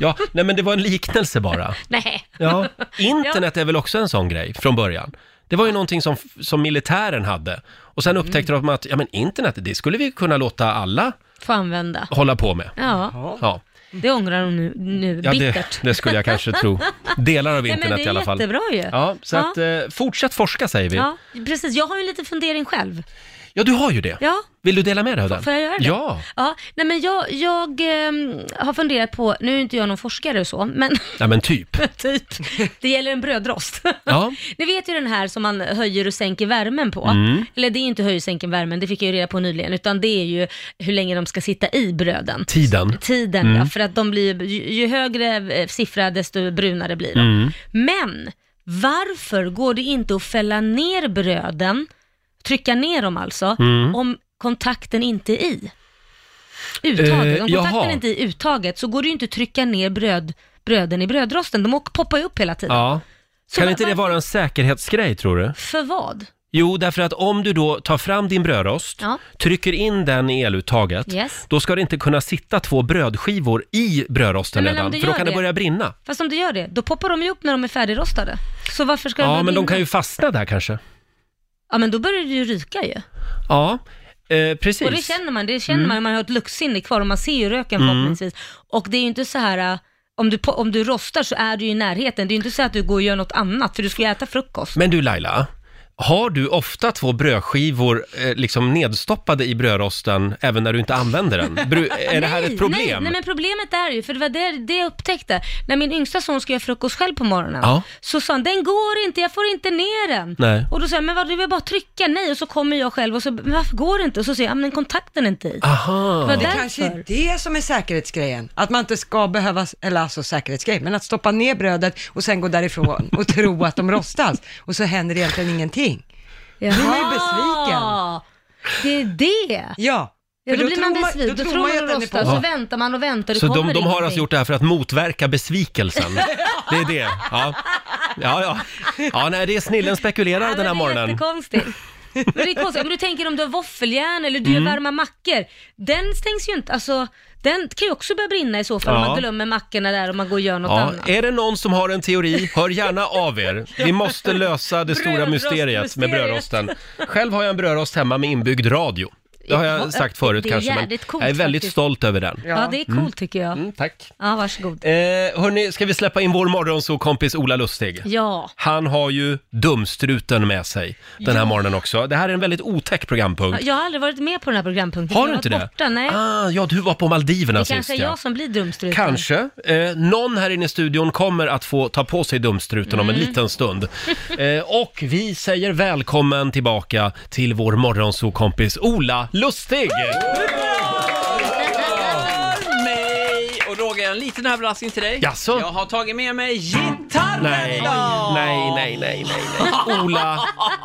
Speaker 1: Ja, nej men det var en liknelse bara.
Speaker 2: Nej.
Speaker 1: Ja. Internet är väl också en sån grej från början. Det var ju någonting som, som militären hade. Och sen upptäckte de att, ja men internet, det skulle vi kunna låta alla
Speaker 2: Få använda.
Speaker 1: hålla på med.
Speaker 2: Ja,
Speaker 1: Ja,
Speaker 2: det ångrar de nu, nu
Speaker 1: ja det,
Speaker 2: bittert.
Speaker 1: det skulle jag kanske tro. Delar av
Speaker 2: Nej, men
Speaker 1: internet
Speaker 2: det
Speaker 1: i alla
Speaker 2: är
Speaker 1: fall.
Speaker 2: jättebra ju.
Speaker 1: Ja, så
Speaker 2: Ja.
Speaker 1: att eh, fortsätt forska säger vi. Ja.
Speaker 2: Ja, precis. Jag har ju en liten fundering själv.
Speaker 1: du har ju det.
Speaker 2: Ja,
Speaker 1: Vill du dela med dig av den?
Speaker 2: Får jag göra det?
Speaker 1: Ja.
Speaker 2: ja. Nej, men jag, jag ehm, har funderat på, nu är inte jag någon forskare och så, men
Speaker 1: Ja men typ.
Speaker 2: typ, det gäller en brödrost.
Speaker 1: Ja.
Speaker 2: Ni vet ju den här som man höjer och sänker värmen på.
Speaker 1: Mm.
Speaker 2: Eller det är ju inte höjer och sänker värmen, det fick jag ju reda på nyligen, utan det är ju hur länge de ska sitta i bröden.
Speaker 1: Tiden.
Speaker 2: Tiden,
Speaker 1: Mm.
Speaker 2: ja, för att de blir, ju, ju högre eh, siffra desto brunare blir de.
Speaker 1: Mm.
Speaker 2: Men varför går det inte att fälla ner bröden, trycka ner dem alltså,
Speaker 1: Mm.
Speaker 2: om kontakten inte är i? Uttaget.
Speaker 1: Eh,
Speaker 2: om kontakten
Speaker 1: jaha.
Speaker 2: inte är i uttaget så går det ju inte att trycka ner bröd, bröden i brödrosten. De åker- poppar ju upp hela tiden.
Speaker 1: Ja.
Speaker 2: Så
Speaker 1: Kan
Speaker 2: va-
Speaker 1: inte det
Speaker 2: va-
Speaker 1: vara en säkerhetsgrej tror du?
Speaker 2: För vad?
Speaker 1: Jo, därför att om du då tar fram din brödrost,
Speaker 2: Ja.
Speaker 1: trycker in den i eluttaget,
Speaker 2: Yes.
Speaker 1: då ska det inte kunna sitta två brödskivor i brödrosten
Speaker 2: Nej, men om
Speaker 1: redan,
Speaker 2: du
Speaker 1: för då
Speaker 2: gör
Speaker 1: kan det,
Speaker 2: det-
Speaker 1: börja brinna.
Speaker 2: Fast om du gör det, då poppar de ju upp när de är färdigrostade. Så varför ska
Speaker 1: Ja,
Speaker 2: börja
Speaker 1: men de
Speaker 2: brinna?
Speaker 1: kan ju fastna där kanske.
Speaker 2: Ja, men då börjar det ju ryka ju.
Speaker 1: Ja, eh, precis.
Speaker 2: Och det känner man, det känner
Speaker 1: Mm.
Speaker 2: man, man har ett luktsinne kvar och man ser ju röken förhoppningsvis. Och det är ju inte så här, äh, om du, po- om du rostar så är du ju i närheten. Det är ju inte så att du går och gör något annat, för du ska ju äta frukost.
Speaker 1: Men du Laila, har du ofta två brödskivor eh, liksom nedstoppade i brödrosten även när du inte använder den? Bru- är det här ett problem?
Speaker 2: Nej, nej, men problemet är ju, för det var det, det jag upptäckte, när min yngsta son ska göra frukost själv på morgonen,
Speaker 1: Ja.
Speaker 2: så sa han, den går inte, jag får inte ner den.
Speaker 1: Nej.
Speaker 2: Och då sa jag, men vad, du vill bara trycka, nej, och så kommer jag själv och så, men varför går det inte? Och så säger jag, "Ja, men kontakten är inte i.
Speaker 1: Aha.
Speaker 2: Vad därför?
Speaker 3: Kanske är det som är säkerhetsgrejen. Att man inte ska behöva, eller alltså säkerhetsgrej, men att stoppa ner brödet och sen gå därifrån och tro att de rostas. Och så händer egentligen ingenting.
Speaker 2: Jaha.
Speaker 3: Nu är jag besviken.
Speaker 2: Det är det.
Speaker 3: Ja.
Speaker 2: Ja,
Speaker 3: för
Speaker 2: då blir man
Speaker 3: tror
Speaker 2: besviken, då, tror man att den är på. Och
Speaker 3: på.
Speaker 2: så väntar man och väntar och det
Speaker 1: Så de,
Speaker 2: kommer
Speaker 1: de har
Speaker 2: ingenting.
Speaker 1: alltså gjort det här för att motverka besvikelsen? Det är det? Ja. Ja, ja. Ja, nej, det är snillen spekulerar
Speaker 2: Ja, men
Speaker 1: den här
Speaker 2: Det är
Speaker 1: morgonen.
Speaker 2: jättekonstigt. Men det är konstigt, om du tänker om du har våffeljärn eller du
Speaker 1: Mm.
Speaker 2: gör varma mackor. Den stängs ju inte, alltså den kan ju också börja brinna i så fall om
Speaker 1: Ja.
Speaker 2: man glömmer mackorna där och man går och gör något
Speaker 1: Ja, eh,
Speaker 2: annat.
Speaker 1: är det någon som har en teori, hör gärna av er. Vi måste lösa det stora mysteriet med
Speaker 2: Brödrostmysteriet.
Speaker 1: brödrosten. Själv har jag en brödrost hemma med inbyggd radio. Det har jag sagt förut
Speaker 2: det är
Speaker 1: kanske, men
Speaker 2: jävligt coolt
Speaker 1: jag är väldigt
Speaker 2: faktiskt.
Speaker 1: stolt över den.
Speaker 2: Ja, det är coolt tycker jag.
Speaker 1: Mm, tack.
Speaker 2: Ja, varsågod.
Speaker 1: Eh, hörni, ska vi släppa in vår morgonsokompis Ola Lustig?
Speaker 2: Ja,
Speaker 1: Han har ju dumstruten med sig den här morgonen också. Det här är en väldigt otäck programpunkt.
Speaker 2: jag har aldrig varit med på den här programpunkten.
Speaker 1: Har
Speaker 2: Jag
Speaker 1: du inte
Speaker 2: varit
Speaker 1: det?
Speaker 2: Borta, nej.
Speaker 1: Ah, ja, du var på Maldiverna
Speaker 2: det
Speaker 1: sist
Speaker 2: kanske är jag som blir dumstruten.
Speaker 1: Kanske. Eh, någon här inne i studion kommer att få ta på sig dumstruten om en
Speaker 8: Mm.
Speaker 1: liten stund. Eh, och vi säger välkommen tillbaka till vår morgonsokompis Ola Lustig!
Speaker 8: mig! Och Roger, en liten överraskning till dig.
Speaker 1: Jaså?
Speaker 8: Jag har tagit med mig gitarren
Speaker 1: Nej,
Speaker 8: idag!
Speaker 1: nej, nej, nej, nej, nej. Ola,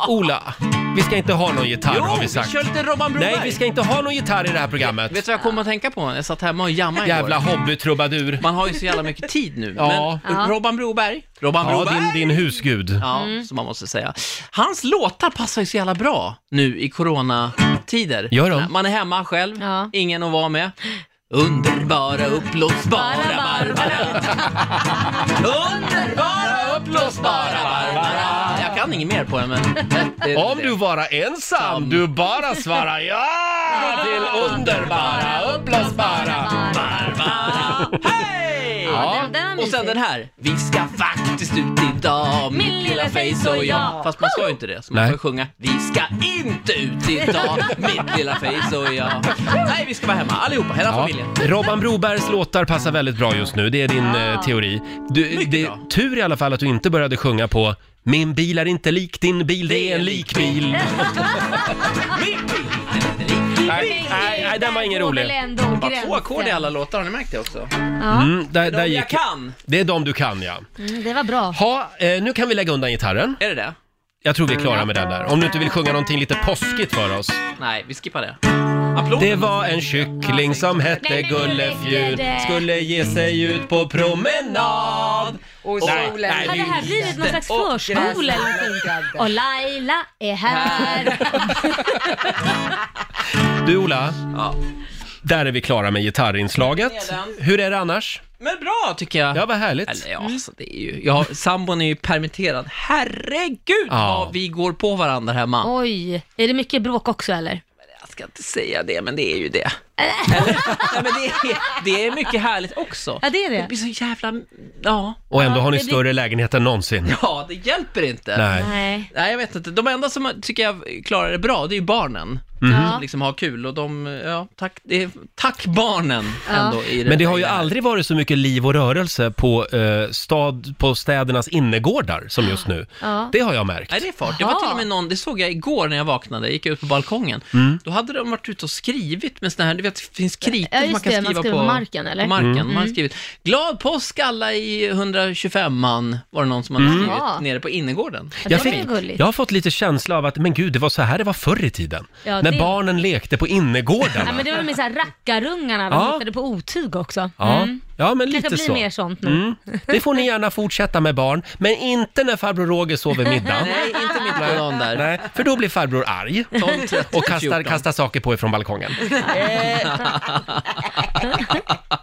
Speaker 1: Ola. Vi ska inte ha någon gitarr
Speaker 8: Jo,
Speaker 1: har vi
Speaker 8: vi
Speaker 1: sagt.
Speaker 8: kör lite Robban Broberg.
Speaker 1: Nej, vi ska inte ha någon gitarr i det här programmet.
Speaker 8: Vet du vad jag kom att tänka på? Jag satt hemma och jammade igår.
Speaker 1: Jävla hobbytrubadur.
Speaker 8: Man har ju så jävla mycket tid nu.
Speaker 1: Ja.
Speaker 8: Men Robban Broberg, Robban
Speaker 1: Ja,
Speaker 8: Broberg,
Speaker 1: din, din husgud.
Speaker 8: ja, Mm. som man måste säga. Hans låtar passar ju så jävla bra nu i coronatider.
Speaker 1: Gör de?
Speaker 8: Man är hemma själv,
Speaker 2: Ja.
Speaker 8: ingen att vara med. Underbara, uppblåsbara Barbara. Underbara, uppblåsbara Barbara. Jag kan inget mer på den, men... det-
Speaker 1: Om
Speaker 8: det-
Speaker 1: du vara ensam, du bara svara ja till underbara, uppblåsbara.
Speaker 8: Barbara. Hej!
Speaker 1: Ja.
Speaker 2: Den, den
Speaker 8: Och sen den här. Vi ska faktiskt ut idag,
Speaker 2: Min lilla face och jag.
Speaker 8: Fast man ska ju inte det, så man
Speaker 1: Nej.
Speaker 8: får ju sjunga. Vi ska inte ut idag, mitt lilla face och jag. Nej, vi ska vara hemma allihopa, hela
Speaker 1: Ja.
Speaker 8: familjen.
Speaker 1: Robban Brobergs låtar passar väldigt bra just nu, det är din eh, teori. Du,
Speaker 8: Mycket
Speaker 1: det
Speaker 8: bra.
Speaker 1: är tur i alla fall att du inte började sjunga på Min bil är inte lik din bil, det är en likbil. Nej, nej, nej, den var ingen rolig.
Speaker 8: Bara två ackord i alla låtar, har ni märkt det också?
Speaker 1: Mm, där, där
Speaker 8: De jag
Speaker 1: gick.
Speaker 8: kan!
Speaker 1: Det är de du kan ja.
Speaker 2: Mm, det var bra.
Speaker 1: Ha, eh, nu kan vi lägga undan gitarren.
Speaker 8: Är det det?
Speaker 1: Jag tror vi är klara med den där. Om du inte vill sjunga någonting lite påskigt för oss.
Speaker 8: Nej, vi skippar det. Applåd!
Speaker 1: Det var en kyckling som hette Gullefjun Skulle ge sig ut på promenad
Speaker 3: Och
Speaker 1: Nej,
Speaker 3: solen
Speaker 1: nej,
Speaker 2: Har det här blivit någon slags
Speaker 8: Och
Speaker 2: förskola eller någonting?
Speaker 3: Gräsmattan.
Speaker 2: Och Laila är här.
Speaker 1: Du Ola,
Speaker 8: Ja.
Speaker 1: där är vi klara med gitarrinslaget.
Speaker 8: Med den.
Speaker 1: Hur är det annars?
Speaker 8: Men bra, tycker jag.
Speaker 1: Ja, vad härligt.
Speaker 8: Eller ja,
Speaker 2: Mm.
Speaker 8: alltså, det är ju... Jag har, sambon är ju permitterad. Herregud
Speaker 1: Ja.
Speaker 8: vad vi går på varandra hemma.
Speaker 2: Oj, är det mycket bråk också eller?
Speaker 8: Jag ska inte säga det, men det är ju det. Nej, men det, är, det är mycket härligt också.
Speaker 2: Ja, det är
Speaker 8: Det
Speaker 2: det.
Speaker 8: blir så jävla... Ja,
Speaker 1: Och ändå
Speaker 2: Ja,
Speaker 1: har ni
Speaker 2: det blir-
Speaker 1: större lägenhet än någonsin.
Speaker 8: ja det hjälper inte.
Speaker 1: Nej.
Speaker 2: Nej.
Speaker 8: Nej, jag vet inte. De enda som tycker jag klarar det bra, det är ju barnen.
Speaker 1: Mhm.
Speaker 2: Ja.
Speaker 8: Som liksom har kul och de, ja, tack, det är, tack barnen ändå. I
Speaker 1: Men det har ju
Speaker 8: här.
Speaker 1: aldrig varit så mycket liv och rörelse på, eh, stad, på städernas innergårdar som just nu.
Speaker 2: Ja.
Speaker 1: Det har jag märkt.
Speaker 8: Nej, det är fart. Det var
Speaker 2: Jaha.
Speaker 8: till och med någon, det såg jag igår när jag vaknade, jag gick ut på balkongen. Då hade de varit ute och skrivit med såna här, du vet, det finns kritor
Speaker 2: Ja,
Speaker 8: som
Speaker 2: just
Speaker 8: man kan
Speaker 2: det, man
Speaker 8: skriva
Speaker 2: skriver
Speaker 8: på
Speaker 2: på marken, eller?
Speaker 8: På marken. Man har skrivit, glad påsk alla i 125an, var det någon som hade skrivit
Speaker 2: Jaha.
Speaker 8: nere på innergården.
Speaker 2: Ja,
Speaker 1: Jag,
Speaker 2: det
Speaker 1: fick,
Speaker 2: är gulligt.
Speaker 1: jag har fått lite känsla av att, men gud, det var så här det var förr i tiden.
Speaker 2: Ja,
Speaker 1: när
Speaker 2: det-
Speaker 1: barnen lekte på
Speaker 2: Ja,
Speaker 1: innergårdarna.
Speaker 2: men det var med så här rackarungarna, de
Speaker 1: Ja.
Speaker 2: hittade på otyg också.
Speaker 1: Ja,
Speaker 2: Mm.
Speaker 1: ja men lite
Speaker 2: Kanske blir
Speaker 1: så.
Speaker 2: mer sånt nu.
Speaker 1: Mm. Det får ni gärna fortsätta med barn, men inte när farbror Roger sover middag.
Speaker 8: Nej, inte mitt på dagen där.
Speaker 1: Nej, för då blir farbror arg
Speaker 8: 12, 13,
Speaker 1: och kastar,
Speaker 8: 14.
Speaker 1: kastar saker på er från balkongen.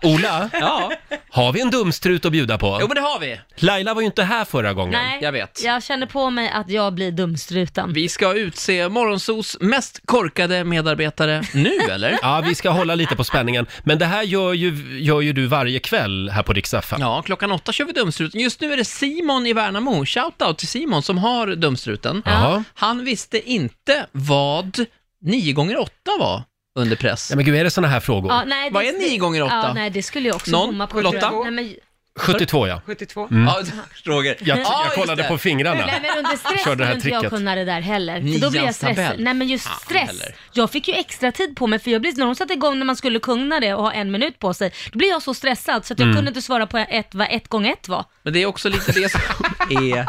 Speaker 1: Ola,
Speaker 8: Ja,
Speaker 1: har vi en dumstrut att bjuda
Speaker 8: jo
Speaker 1: på?
Speaker 8: men det har vi.
Speaker 1: Laila var ju inte här förra gången.
Speaker 2: Nej,
Speaker 8: jag vet.
Speaker 2: Jag känner på mig att jag blir dumstruten.
Speaker 8: Vi ska utse Morgonsos mest korkade medarbetare nu, eller?
Speaker 1: Ja, vi ska hålla lite på spänningen. Men det här gör ju, gör ju du varje kväll här på Rix FM.
Speaker 8: Ja, klockan åtta kör vi Dumstruten. Just nu är det Simon i Värnamo. Shoutout till Simon som har Dumstruten.
Speaker 1: Jaha.
Speaker 8: Han visste inte vad 9 gånger 8 var under press.
Speaker 1: Ja, men gud, är det såna här frågor?
Speaker 2: Ja, nej,
Speaker 8: Vad
Speaker 2: det-
Speaker 8: är nio gånger åtta?
Speaker 2: Ja, nej, det skulle jag också
Speaker 8: Någon?
Speaker 2: komma på.
Speaker 8: Lotta?
Speaker 2: tror jag. Nej, men,
Speaker 1: 72 ja.
Speaker 3: 72.
Speaker 8: Ja, Roger.
Speaker 1: Jag,
Speaker 8: Ja,
Speaker 1: jag
Speaker 8: just
Speaker 1: kollade
Speaker 8: det.
Speaker 1: på fingrarna.
Speaker 2: nej, men under stress
Speaker 1: Kör det här
Speaker 2: skulle inte jag
Speaker 1: tricket.
Speaker 2: kunna det där heller. För då blir jag
Speaker 8: Nians
Speaker 2: stressad.
Speaker 8: tabell.
Speaker 2: Nej, men just
Speaker 8: Fan
Speaker 2: stress.
Speaker 8: heller.
Speaker 2: Jag fick ju extra tid på mig för jag blev, när de satte igång när man skulle kunna det och ha en minut på sig, då blev jag så stressad så att jag kunde inte svara på ett, vad ett gånger ett var.
Speaker 8: Men det är också lite det som är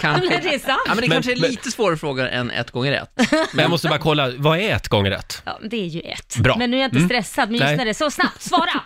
Speaker 8: kanske...
Speaker 2: Men det är sant.
Speaker 8: Ja, men det
Speaker 1: Men-
Speaker 8: kanske är
Speaker 1: men-
Speaker 8: lite svårare fråga än ett gånger ett.
Speaker 1: Men jag måste bara kolla, vad är ett gånger ett?
Speaker 2: Ja, det är ju ett.
Speaker 1: Bra.
Speaker 2: Men nu är jag inte stressad, men just
Speaker 1: Nej.
Speaker 2: när det är så snabbt, svara!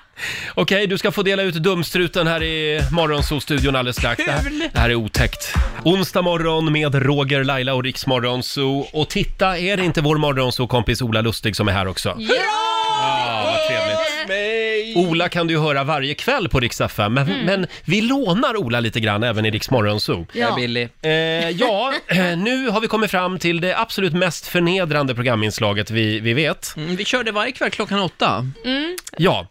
Speaker 1: Okej, du ska få dela ut dumstruten här i Morgonzoo-studion alldeles strax. Det här, det här är otäckt. Onsdag morgon med Roger, Laila och Riks Morgonzoo. Och titta, är det inte vår Morgonzoo-kompis Ola Lustig som är här också?
Speaker 2: Ja!
Speaker 1: Ja, vad Ah, trevligt. Ola kan du ju höra varje kväll på Rix FM, men, men vi lånar Ola lite grann även i Rix Morgon Zoo.
Speaker 8: Jag är
Speaker 2: Ja.
Speaker 8: billig.
Speaker 1: Eh, ja, eh, nu har vi kommit fram till det absolut mest förnedrande programinslaget vi, vi vet.
Speaker 8: Mm, vi kör det varje kväll klockan åtta.
Speaker 1: Ja,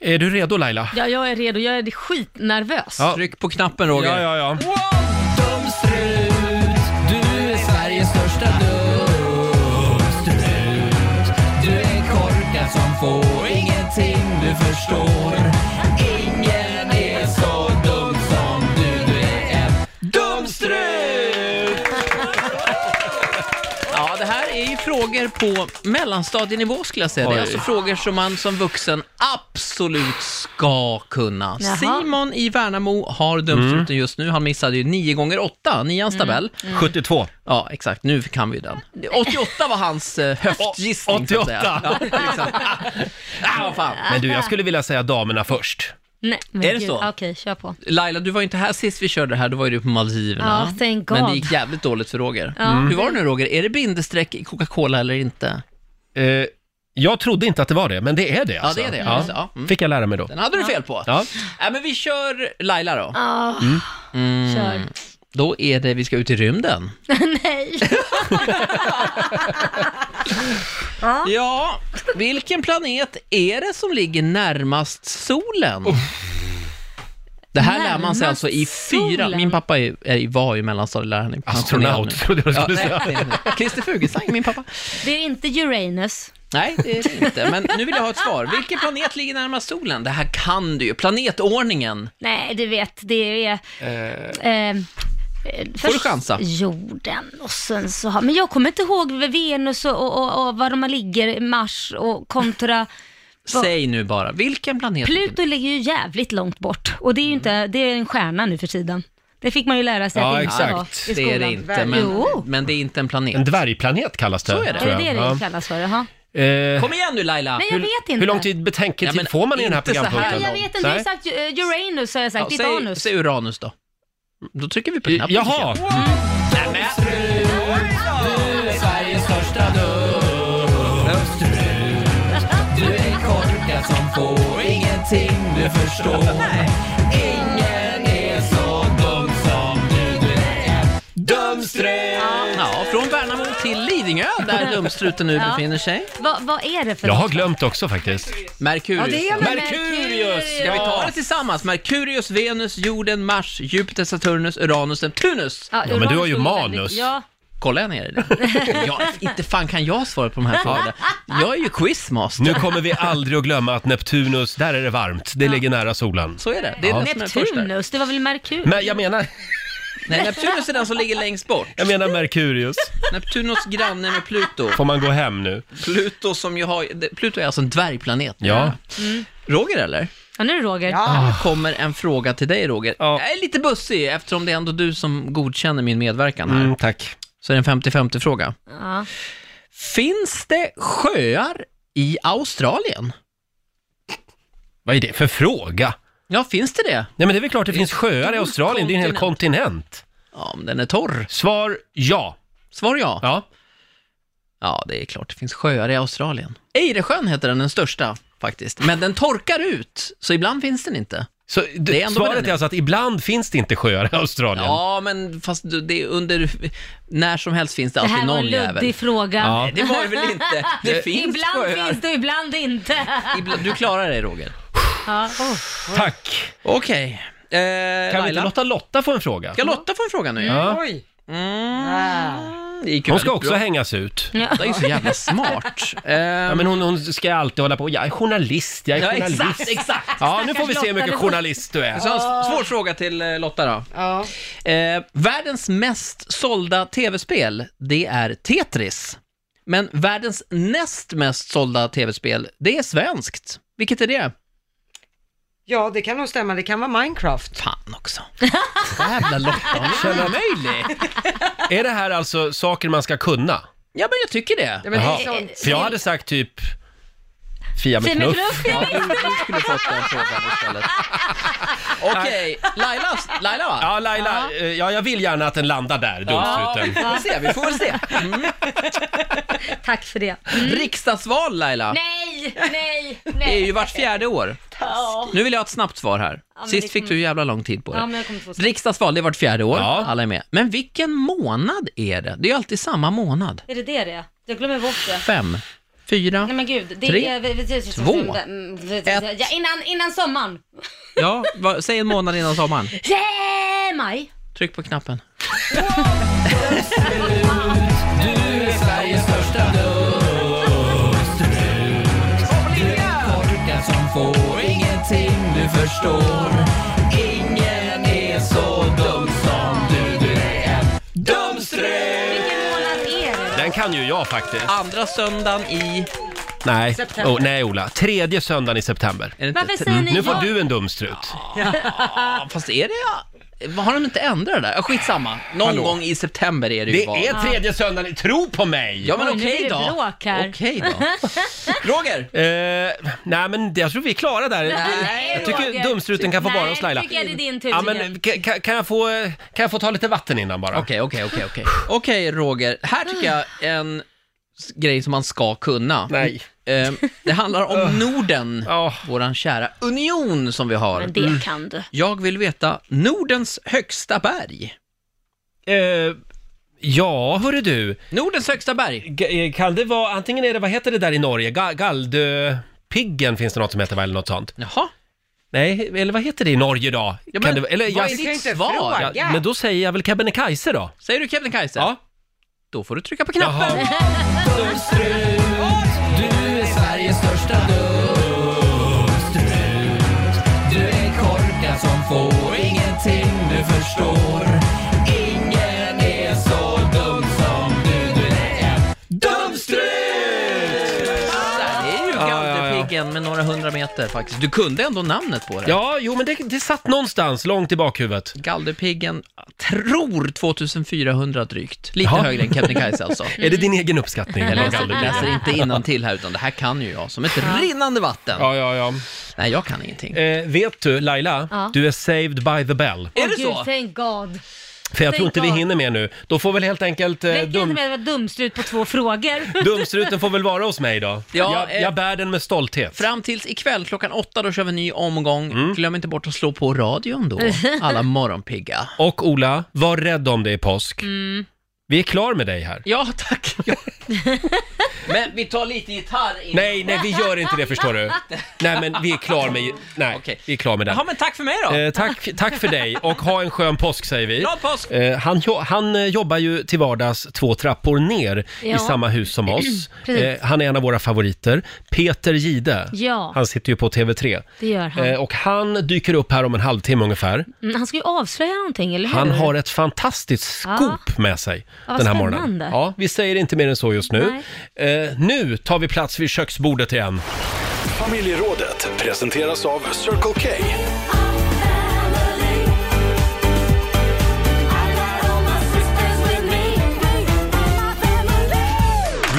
Speaker 1: är du redo Laila?
Speaker 2: ja, jag är redo. Jag är skitnervös.
Speaker 1: Ja.
Speaker 8: Tryck på knappen Roger.
Speaker 1: ja, ja.
Speaker 8: Strut, du är Sveriges största dumstrut. Du är korkad som får ingenting du förstår. Ingen är så dum som du, du är en dumstrut. Ja, det här är ju frågor på mellanstadienivå skulle jag säga. Det
Speaker 1: Oj.
Speaker 8: är alltså frågor som man som vuxen absolut ska kunna.
Speaker 2: Jaha.
Speaker 8: Simon i Värnamo har dömts ut just nu. Han missade ju nio gånger åtta, nians
Speaker 2: Mm.
Speaker 8: tabell.
Speaker 1: Mm. 72.
Speaker 8: Ja, exakt. Nu kan vi den. 88 var hans eh, höftgissning. så att säga.
Speaker 1: 88.
Speaker 8: Ja, exakt. Ah, vad fan.
Speaker 1: Men du, jag skulle vilja säga damerna först.
Speaker 2: Nej, men
Speaker 8: Är det
Speaker 2: gud.
Speaker 8: så?
Speaker 2: Okej, kör på.
Speaker 8: Laila, du var ju inte här sist vi körde det här, då var ju du på
Speaker 2: Ja,
Speaker 8: Maldiverna.
Speaker 2: thank
Speaker 8: Men
Speaker 2: God.
Speaker 8: det gick jävligt dåligt för Roger.
Speaker 2: Ja.
Speaker 8: Hur var det nu Roger? Är det bindestreck i Coca-Cola eller inte?
Speaker 1: Eh, jag trodde inte att det var det, men det är det alltså.
Speaker 8: det är det,
Speaker 1: Ja.
Speaker 8: alltså, ja. Mm.
Speaker 1: Fick jag lära mig då.
Speaker 8: Den hade du fel på.
Speaker 1: Ja.
Speaker 8: Nej, men vi kör Laila då.
Speaker 2: Ja,
Speaker 8: Mm.
Speaker 2: kör.
Speaker 8: Då är det, vi ska ut i rymden.
Speaker 2: Nej.
Speaker 8: Ja, vilken planet är det som ligger närmast solen? Det här lär man sig
Speaker 2: Närmast
Speaker 8: alltså i fyra,
Speaker 2: solen?
Speaker 8: min pappa är, är, var ju mellanstadielärare. han är pensionerad
Speaker 1: Astronaut,
Speaker 8: nu.
Speaker 1: trodde jag du
Speaker 8: Ja,
Speaker 1: skulle
Speaker 8: nej,
Speaker 1: säga.
Speaker 8: nej, nej. Christer Fuglesang, min pappa.
Speaker 2: Det är inte Uranus.
Speaker 8: Nej, det är det inte. Men nu vill jag ha ett svar. Vilken planet ligger närmast solen? Det här kan du ju. Planetordningen.
Speaker 2: Nej, du vet, det är... Eh, eh,
Speaker 8: du chansa?
Speaker 2: Jorden och sen så har... Men jag kommer inte ihåg Venus och, och, och, och var de här ligger, Mars och kontra... Vad-
Speaker 8: Säg nu bara. Vilken planet?
Speaker 2: Pluto ligger ju jävligt långt bort och det är ju inte, det är en stjärna nu för tiden. Det fick man ju lära sig
Speaker 1: Mm. Ja,
Speaker 2: att det inte
Speaker 1: exakt.
Speaker 2: var i skolan.
Speaker 8: Det är det inte, men,
Speaker 2: Jo.
Speaker 8: men det är inte en planet.
Speaker 1: En dvärgplanet kallas det.
Speaker 8: Så är det.
Speaker 2: Är
Speaker 1: tror
Speaker 2: det
Speaker 1: jag.
Speaker 2: det
Speaker 1: Ja.
Speaker 2: det kallas för? Jaha.
Speaker 1: Eh,
Speaker 8: Kom igen nu Laila!
Speaker 2: Nej, jag
Speaker 1: hur,
Speaker 2: vet inte.
Speaker 1: hur lång tid betänketid
Speaker 8: Ja, men
Speaker 1: får man i den här
Speaker 8: inte så här
Speaker 1: programpunkten?
Speaker 2: Nej, jag
Speaker 8: lång?
Speaker 2: vet inte. Du har
Speaker 1: Nej.
Speaker 2: ju sagt eh, Uranus har jag sagt,
Speaker 8: Ja,
Speaker 2: inte
Speaker 8: säg,
Speaker 2: Anus.
Speaker 8: säg Uranus då. Då trycker vi på knappen. tycker jag.
Speaker 1: Eh, Jaha!
Speaker 8: Du är Sveriges största dumstrut. Du är korkad som får ingenting du förstår. Ingen är så dum som du, du är dumstrut. Ja, från Värnamo till Lidingö där dumstruten nu
Speaker 2: Ja.
Speaker 8: befinner sig.
Speaker 2: Vad, vad är det för
Speaker 1: Jag
Speaker 2: något?
Speaker 1: har glömt också faktiskt.
Speaker 8: Merkurius.
Speaker 3: Ja, det är väl-
Speaker 1: Merkurius!
Speaker 8: Ska vi ta
Speaker 1: ja.
Speaker 8: det tillsammans? Merkurius, Venus, jorden, Mars, Jupiter, Saturnus, Uranus, Neptunus.
Speaker 1: Ja, men
Speaker 2: Uranus
Speaker 1: du har ju
Speaker 2: låg
Speaker 1: manus.
Speaker 2: väldigt- Ja,
Speaker 8: Kollar jag ner i det? Jag, inte fan kan jag svara på de här frågorna. Jag är ju quizmaster.
Speaker 1: Nu kommer vi aldrig att glömma att Neptunus, där är det varmt. Det ligger nära solen.
Speaker 8: Så är det. Det är det som är först där.
Speaker 2: Neptunus, det var väl Merkurius?
Speaker 1: Men jag menar,
Speaker 8: Nej, Neptunus är den som ligger längst bort.
Speaker 1: jag menar Merkurius.
Speaker 8: Neptunus granne med Pluto.
Speaker 1: Får man gå hem nu?
Speaker 8: Pluto som ju har... Pluto är alltså en dvärgplanet. Mm.
Speaker 1: Ja.
Speaker 8: Roger eller?
Speaker 2: Ja, nu är det Roger.
Speaker 3: Ja,
Speaker 8: Här kommer en fråga till dig Roger.
Speaker 1: Ja.
Speaker 8: Jag är lite bussig eftersom det är ändå du som godkänner min medverkan här.
Speaker 1: Mm, tack.
Speaker 8: Så är det en 50-50 fråga.
Speaker 2: Ja.
Speaker 8: Finns det sjöar i Australien?
Speaker 1: Vad är det för fråga?
Speaker 8: Ja, finns det det?
Speaker 1: Nej men det är väl klart det finns sjöar i
Speaker 8: stor
Speaker 1: Australien, det är ju en hel kontinent.
Speaker 8: Ja, om den är torr.
Speaker 1: Svar ja.
Speaker 8: Svar ja.
Speaker 1: Ja.
Speaker 8: Ja, det är klart det finns sjöar i Australien. Ejdersjön heter den, den största faktiskt. Men den torkar ut, så ibland finns den inte.
Speaker 1: Så
Speaker 8: Det är
Speaker 1: det
Speaker 8: ändå vad
Speaker 1: svaret
Speaker 8: den
Speaker 1: är
Speaker 8: är.
Speaker 1: alltså att ibland finns det inte sjöar i Australien.
Speaker 8: Ja, men fast du- det är under... När som helst finns det
Speaker 2: Det
Speaker 8: alltid
Speaker 2: här var
Speaker 8: någon
Speaker 2: en
Speaker 8: jävel.
Speaker 2: luddig fråga.
Speaker 1: Ja.
Speaker 8: Det var det väl inte? Det finns
Speaker 2: ibland
Speaker 8: sjöar.
Speaker 2: finns det, ibland inte.
Speaker 8: Ibland- Du klarar dig Roger.
Speaker 2: Ja. Oh.
Speaker 1: Tack!
Speaker 8: Okej. Eh,
Speaker 1: Kan vi inte
Speaker 8: Laila?
Speaker 1: låta Lotta få en fråga?
Speaker 8: Ska Lotta få en fråga nu? Mm,
Speaker 1: Ja.
Speaker 3: oj.
Speaker 2: Mm.
Speaker 8: Det gick ju
Speaker 1: Hon ska
Speaker 8: väldigt
Speaker 1: också
Speaker 8: bra.
Speaker 1: hängas ut.
Speaker 8: Det är ju så jävla smart. Eh,
Speaker 1: Ja, men hon, hon ska alltid hålla på, jag är journalist, jag är
Speaker 8: ja,
Speaker 1: journalist.
Speaker 8: exakt, exakt.
Speaker 1: Ja, nu får vi se hur mycket journalist du är.
Speaker 8: Så en s- svår fråga till eh, Lotta då.
Speaker 3: Ja.
Speaker 8: Eh, världens mest sålda tv-spel, det är Tetris. Men världens näst mest sålda tv-spel, det är svenskt. Vilket är det?
Speaker 3: ja, det kan nog stämma. Det kan vara Minecraft.
Speaker 8: Fan också. Jävla Lotta, hon är omöjlig.
Speaker 1: Är det här alltså saker man ska kunna?
Speaker 8: Ja, men jag tycker det.
Speaker 3: Ja, men det är
Speaker 1: Jaha.
Speaker 3: sånt.
Speaker 1: För jag hade sagt typ Fia med knuff.
Speaker 8: Ja, du, du skulle fått den frågan istället. Okej, Laila, Laila va?
Speaker 1: Ja, Laila, eh, ja, jag vill gärna att den landar där,
Speaker 8: Ja, vi
Speaker 1: dumstruten.
Speaker 8: får väl se, vi får väl se. Mm.
Speaker 2: Tack för det.
Speaker 8: Riksdagsval Laila!
Speaker 2: Nej, nej, nej.
Speaker 8: Det är ju vart fjärde år.
Speaker 2: Ja.
Speaker 8: Nu vill jag ha ett snabbt svar här.
Speaker 2: Ja, men
Speaker 8: Sist
Speaker 2: det
Speaker 8: fick
Speaker 2: kan-
Speaker 8: du jävla lång tid på
Speaker 2: Ja, men
Speaker 8: det.
Speaker 2: jag kommer få se.
Speaker 8: Riksdagsval, det är vart fjärde år.
Speaker 1: Ja.
Speaker 8: Alla är med. Men vilken månad är det? Det är ju alltid samma månad.
Speaker 2: Är det det det är? Jag glömmer bort det.
Speaker 8: Fem, fyra,
Speaker 2: Nej men gud, det
Speaker 8: Tre,
Speaker 2: är...
Speaker 8: två,
Speaker 2: Ja, innan, innan sommaren.
Speaker 8: ja, vad- säg en månad innan sommaren.
Speaker 2: Yeah, maj.
Speaker 8: Tryck på knappen.
Speaker 9: Du är Sveriges största dumstrut. Du är korkad som får ingenting du förstår. Ingen är så dum som du. Du är en dumstrut.
Speaker 2: Vilken månad är det?
Speaker 1: Den kan ju jag faktiskt.
Speaker 8: Andra söndagen i...
Speaker 1: Nej,
Speaker 3: September.
Speaker 1: oh, nej Ola. Tredje söndagen i september. Mm.
Speaker 8: Är det inte,
Speaker 2: Varför säger ni
Speaker 1: Nu får
Speaker 2: ja?
Speaker 1: du en dumstrut.
Speaker 8: Ja, fast är det... ja, Har de inte ändrat det där? Ja, Skitsamma. Någon
Speaker 1: Hallå.
Speaker 8: gång i september är det ju
Speaker 1: Det
Speaker 8: val.
Speaker 1: är tredje söndagen, i- tro på mig!
Speaker 8: Ja, men
Speaker 2: Oj, nu
Speaker 8: okej
Speaker 2: blir det
Speaker 8: då.
Speaker 2: bråk här.
Speaker 8: Okej då. Roger!
Speaker 1: Eh, nej men det- jag tror vi är klara där.
Speaker 2: Nej,
Speaker 1: jag tycker
Speaker 2: Roger.
Speaker 1: dumstruten kan få vara hos Laila.
Speaker 2: Nej, tycker jag det är din tur
Speaker 1: Ja,
Speaker 2: igen.
Speaker 1: men, ka- ka- kan, jag få, eh, kan jag få ta lite vatten innan bara?
Speaker 8: Okej, okej, okej, okej. Okej, Roger. Här tycker jag en s- grej som man ska kunna.
Speaker 1: Nej. Ah.
Speaker 8: Eh, Det handlar om Norden,
Speaker 1: Ja.
Speaker 8: våran kära union som vi har.
Speaker 2: Men det kan du.
Speaker 8: Jag vill veta Nordens högsta berg.
Speaker 1: Eh, ja, hörru du.
Speaker 8: Nordens högsta berg.
Speaker 1: G- eh, kan det vara, antingen är det, vad heter det där i Norge? Ga- Galdhøpiggen finns det något som heter va, eller något sånt?
Speaker 8: Jaha.
Speaker 1: Nej, eller vad heter det i Norge idag?
Speaker 8: Ja,
Speaker 1: kan
Speaker 8: men
Speaker 1: det, eller,
Speaker 8: vad är ditt svar?
Speaker 1: Ja, Men då säger jag väl Kebnekaise då?
Speaker 8: Säger du Kebnekaise?
Speaker 1: Ja.
Speaker 8: Då får du trycka på knappen.
Speaker 1: Jaha.
Speaker 9: Du är Sveriges största dumstrut. Du är korkad som får ingenting du förstår. Ingen är så dum som du. Du är en dumstrut!
Speaker 8: Där, Det är ju Galdhöpiggen med några hundra meter faktiskt. Du kunde ändå namnet på det.
Speaker 1: Ja, jo men det, det satt någonstans långt i bakhuvudet.
Speaker 8: Galdhöpiggen tror 2400 drygt. Lite
Speaker 1: Jaha.
Speaker 8: högre än Kebnekaise alltså.
Speaker 1: Är det din egen uppskattning?
Speaker 8: Jag
Speaker 1: eller vad
Speaker 8: läser,
Speaker 1: kallar du det?
Speaker 8: läser inte innantill här, utan det här kan ju jag som ett rinnande vatten.
Speaker 1: Ja, ja, ja.
Speaker 8: Nej, jag kan ingenting.
Speaker 1: Eh, vet du, Laila,
Speaker 2: Ja.
Speaker 1: du är saved by the bell.
Speaker 8: Är det
Speaker 2: Gud,
Speaker 8: så?
Speaker 2: thank God.
Speaker 1: För jag tror
Speaker 2: Thank
Speaker 1: inte vi
Speaker 2: God.
Speaker 1: hinner mer nu. Då får väl helt enkelt eh,
Speaker 2: Räcker det inte
Speaker 1: dum,
Speaker 2: med att vara dumstrut på två frågor?
Speaker 1: dumstruten får väl vara hos mig då.
Speaker 8: Ja,
Speaker 1: jag,
Speaker 8: eh,
Speaker 1: jag bär den med stolthet.
Speaker 8: Fram tills ikväll klockan åtta, då kör vi en ny omgång.
Speaker 1: Mm.
Speaker 8: Glöm inte bort att slå på radion då, alla morgonpigga.
Speaker 1: Och Ola, var rädd om dig i påsk. Vi är klar med dig här.
Speaker 8: Ja, tack. Ja. Men vi tar lite gitarr innan.
Speaker 1: Nej, nej, vi gör inte det förstår du. Nej, men vi är klar med... Nej,
Speaker 8: Okej.
Speaker 1: vi är klar med den.
Speaker 8: Jaha, men tack för mig då.
Speaker 1: Eh, tack, tack för dig och ha en skön påsk säger vi.
Speaker 8: Glad påsk!
Speaker 1: Eh, han, jo- han eh, jobbar ju till vardags två trappor ner i
Speaker 2: Ja.
Speaker 1: samma hus som oss.
Speaker 2: Precis.
Speaker 1: Eh, han är en av våra favoriter. Peter Gide.
Speaker 2: Ja.
Speaker 1: Han sitter ju på TV3.
Speaker 2: Det gör han.
Speaker 1: Eh, och han dyker upp här om en halvtimme ungefär.
Speaker 2: Mm, Han ska ju avslöja någonting, eller hur?
Speaker 1: Han har ett fantastiskt scoop med sig
Speaker 2: Ja, vad
Speaker 1: den här
Speaker 2: spännande.
Speaker 1: morgonen. Ja, vi säger inte mer än så just nu. Eh, nu tar vi plats vid köksbordet igen.
Speaker 4: Familjerådet presenteras av Circle K.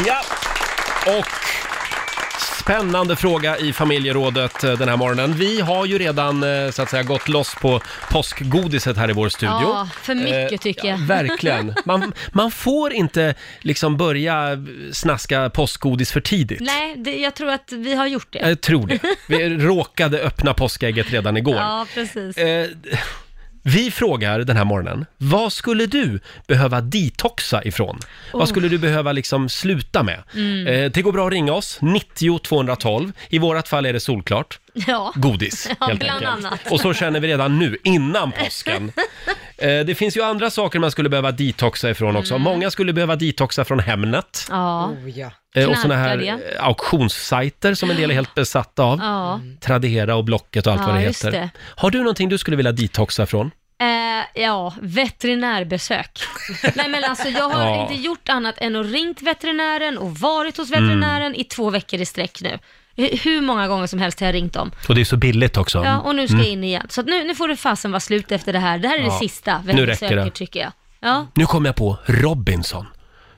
Speaker 1: Ja! Och spännande fråga i familjerådet eh, den här morgonen. Vi har ju redan eh, så att säga gått loss på påskgodiset här i vår studio.
Speaker 2: Ja, för mycket
Speaker 1: Eh,
Speaker 2: tycker jag.
Speaker 1: Ja, verkligen. Man, man får inte liksom börja snaska påskgodis för tidigt.
Speaker 2: Nej, det, jag tror att vi har gjort det.
Speaker 1: Jag tror det. Vi råkade öppna påskägget redan igår.
Speaker 2: Ja, precis.
Speaker 1: Eh, vi frågar den här morgonen, vad skulle du behöva detoxa ifrån? Vad skulle du behöva liksom sluta med?
Speaker 2: Mm.
Speaker 1: Eh, det går bra att ringa oss, 90 212. I vårat fall är det solklart,
Speaker 2: Ja.
Speaker 1: godis
Speaker 2: Ja,
Speaker 1: helt
Speaker 2: bland
Speaker 1: enkelt.
Speaker 2: annat.
Speaker 1: Och så känner vi redan nu, innan påsken. Eh, det finns ju andra saker man skulle behöva detoxa ifrån också.
Speaker 2: Mm.
Speaker 1: Många skulle behöva detoxa från Hemnet
Speaker 2: Ja.
Speaker 3: Oh, ja.
Speaker 1: eh, och såna här
Speaker 2: knarkar
Speaker 1: eh, auktionssajter som en del är helt besatta av.
Speaker 2: Ja.
Speaker 1: Tradera och Blocket och allt
Speaker 2: Ja,
Speaker 1: vad det
Speaker 2: just
Speaker 1: heter.
Speaker 2: det.
Speaker 1: Har du någonting du skulle vilja detoxa från?
Speaker 2: Eh, ja, veterinärbesök. Nej men alltså jag har
Speaker 1: Ja.
Speaker 2: inte gjort annat än att ringt veterinären och varit hos veterinären
Speaker 1: Mm.
Speaker 2: i två veckor i sträck nu. H- Hur många gånger som helst har jag ringt dem.
Speaker 1: Och det är så billigt också.
Speaker 2: Ja, och nu ska jag in igen. Så att nu, nu får det fasen vara slut efter det här. Det här är
Speaker 1: Mm. Ja.
Speaker 2: det sista
Speaker 1: Nu räcker
Speaker 2: vettbesöket
Speaker 1: det.
Speaker 2: tycker jag. Ja.
Speaker 1: Nu kom jag på Robinson.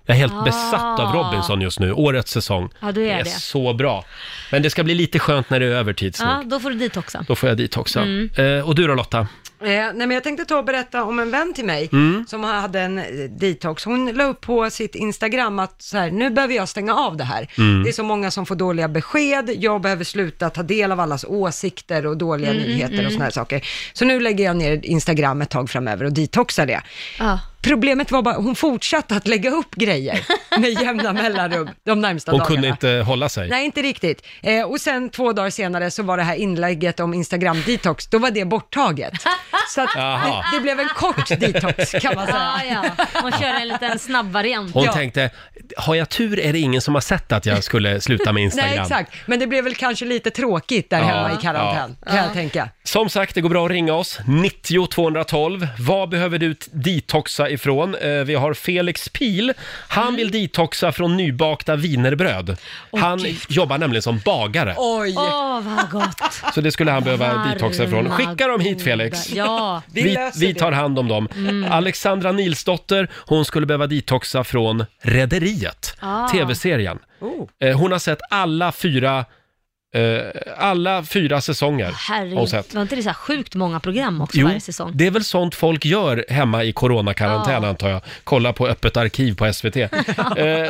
Speaker 1: Jag är helt
Speaker 2: Ah.
Speaker 1: besatt av Robinson just nu, årets säsong.
Speaker 2: Ja, du är
Speaker 1: är
Speaker 2: det.
Speaker 1: så bra. Men det ska bli lite skönt när det är över tids nog.
Speaker 2: ja, då får du dit också. Mm.
Speaker 1: Då får jag dit också. Eh, och du då Lotta?
Speaker 3: Eh, nej men jag tänkte ta och berätta om en vän till mig
Speaker 1: Mm.
Speaker 3: som hade en eh, detox. Hon la upp på sitt Instagram att så här, nu behöver jag stänga av det här.
Speaker 1: Mm.
Speaker 3: Det är så många som får dåliga besked, jag behöver sluta ta del av allas åsikter och dåliga nyheter och såna här saker. Så nu lägger jag ner Instagram ett tag framöver och detoxar det.
Speaker 2: Ja.
Speaker 3: Problemet var bara, hon fortsatte att lägga upp grejer med jämna mellanrum de närmsta
Speaker 1: Hon
Speaker 3: dagarna.
Speaker 1: kunde inte hålla sig.
Speaker 3: Nej, inte riktigt. Eh, och sen två dagar senare så var det här inlägget om Instagram-detox, då var det borttaget. Så att
Speaker 1: Jaha.
Speaker 3: det, det blev en kort detox kan man säga.
Speaker 2: Ja, ja. Man kör en liten snabb variant.
Speaker 1: Hon
Speaker 3: Ja.
Speaker 1: tänkte, har jag tur är det ingen som har sett att jag skulle sluta med Instagram.
Speaker 3: Nej, exakt. Men det blev väl kanske lite tråkigt där
Speaker 1: Ja,
Speaker 3: hemma i karantän, kan jag tänka.
Speaker 1: Som sagt, det går bra att ringa oss. 90 212. Vad behöver du t- detoxa ifrån? Eh, Vi har Felix Pil.
Speaker 2: Mm.
Speaker 1: Han vill detoxa från nybakta wienerbröd. Han jobbar nämligen som bagare,
Speaker 3: Oj!
Speaker 2: Åh, vad gott.
Speaker 1: så det skulle han behöva detoxa ifrån.
Speaker 2: Varma,
Speaker 1: Skicka dem hit
Speaker 2: goda-
Speaker 1: Felix.
Speaker 2: Ja.
Speaker 3: Vi
Speaker 1: Vi,
Speaker 3: löser
Speaker 1: vi
Speaker 3: det.
Speaker 1: tar hand om dem.
Speaker 2: Mm.
Speaker 1: Alexandra Nilsdotter, hon skulle behöva detoxa från Rederiet,
Speaker 2: Ah.
Speaker 1: tv-serien.
Speaker 3: Oh.
Speaker 1: Eh, Hon har sett alla fyra, eh, alla fyra säsonger. har hon
Speaker 2: Herregud,
Speaker 1: sett.
Speaker 2: var inte det så här sjukt många program också varje säsong?
Speaker 1: det är väl sånt folk gör hemma i coronakarantän
Speaker 2: Ja.
Speaker 1: antar jag. Kolla på Öppet arkiv på SVT. eh,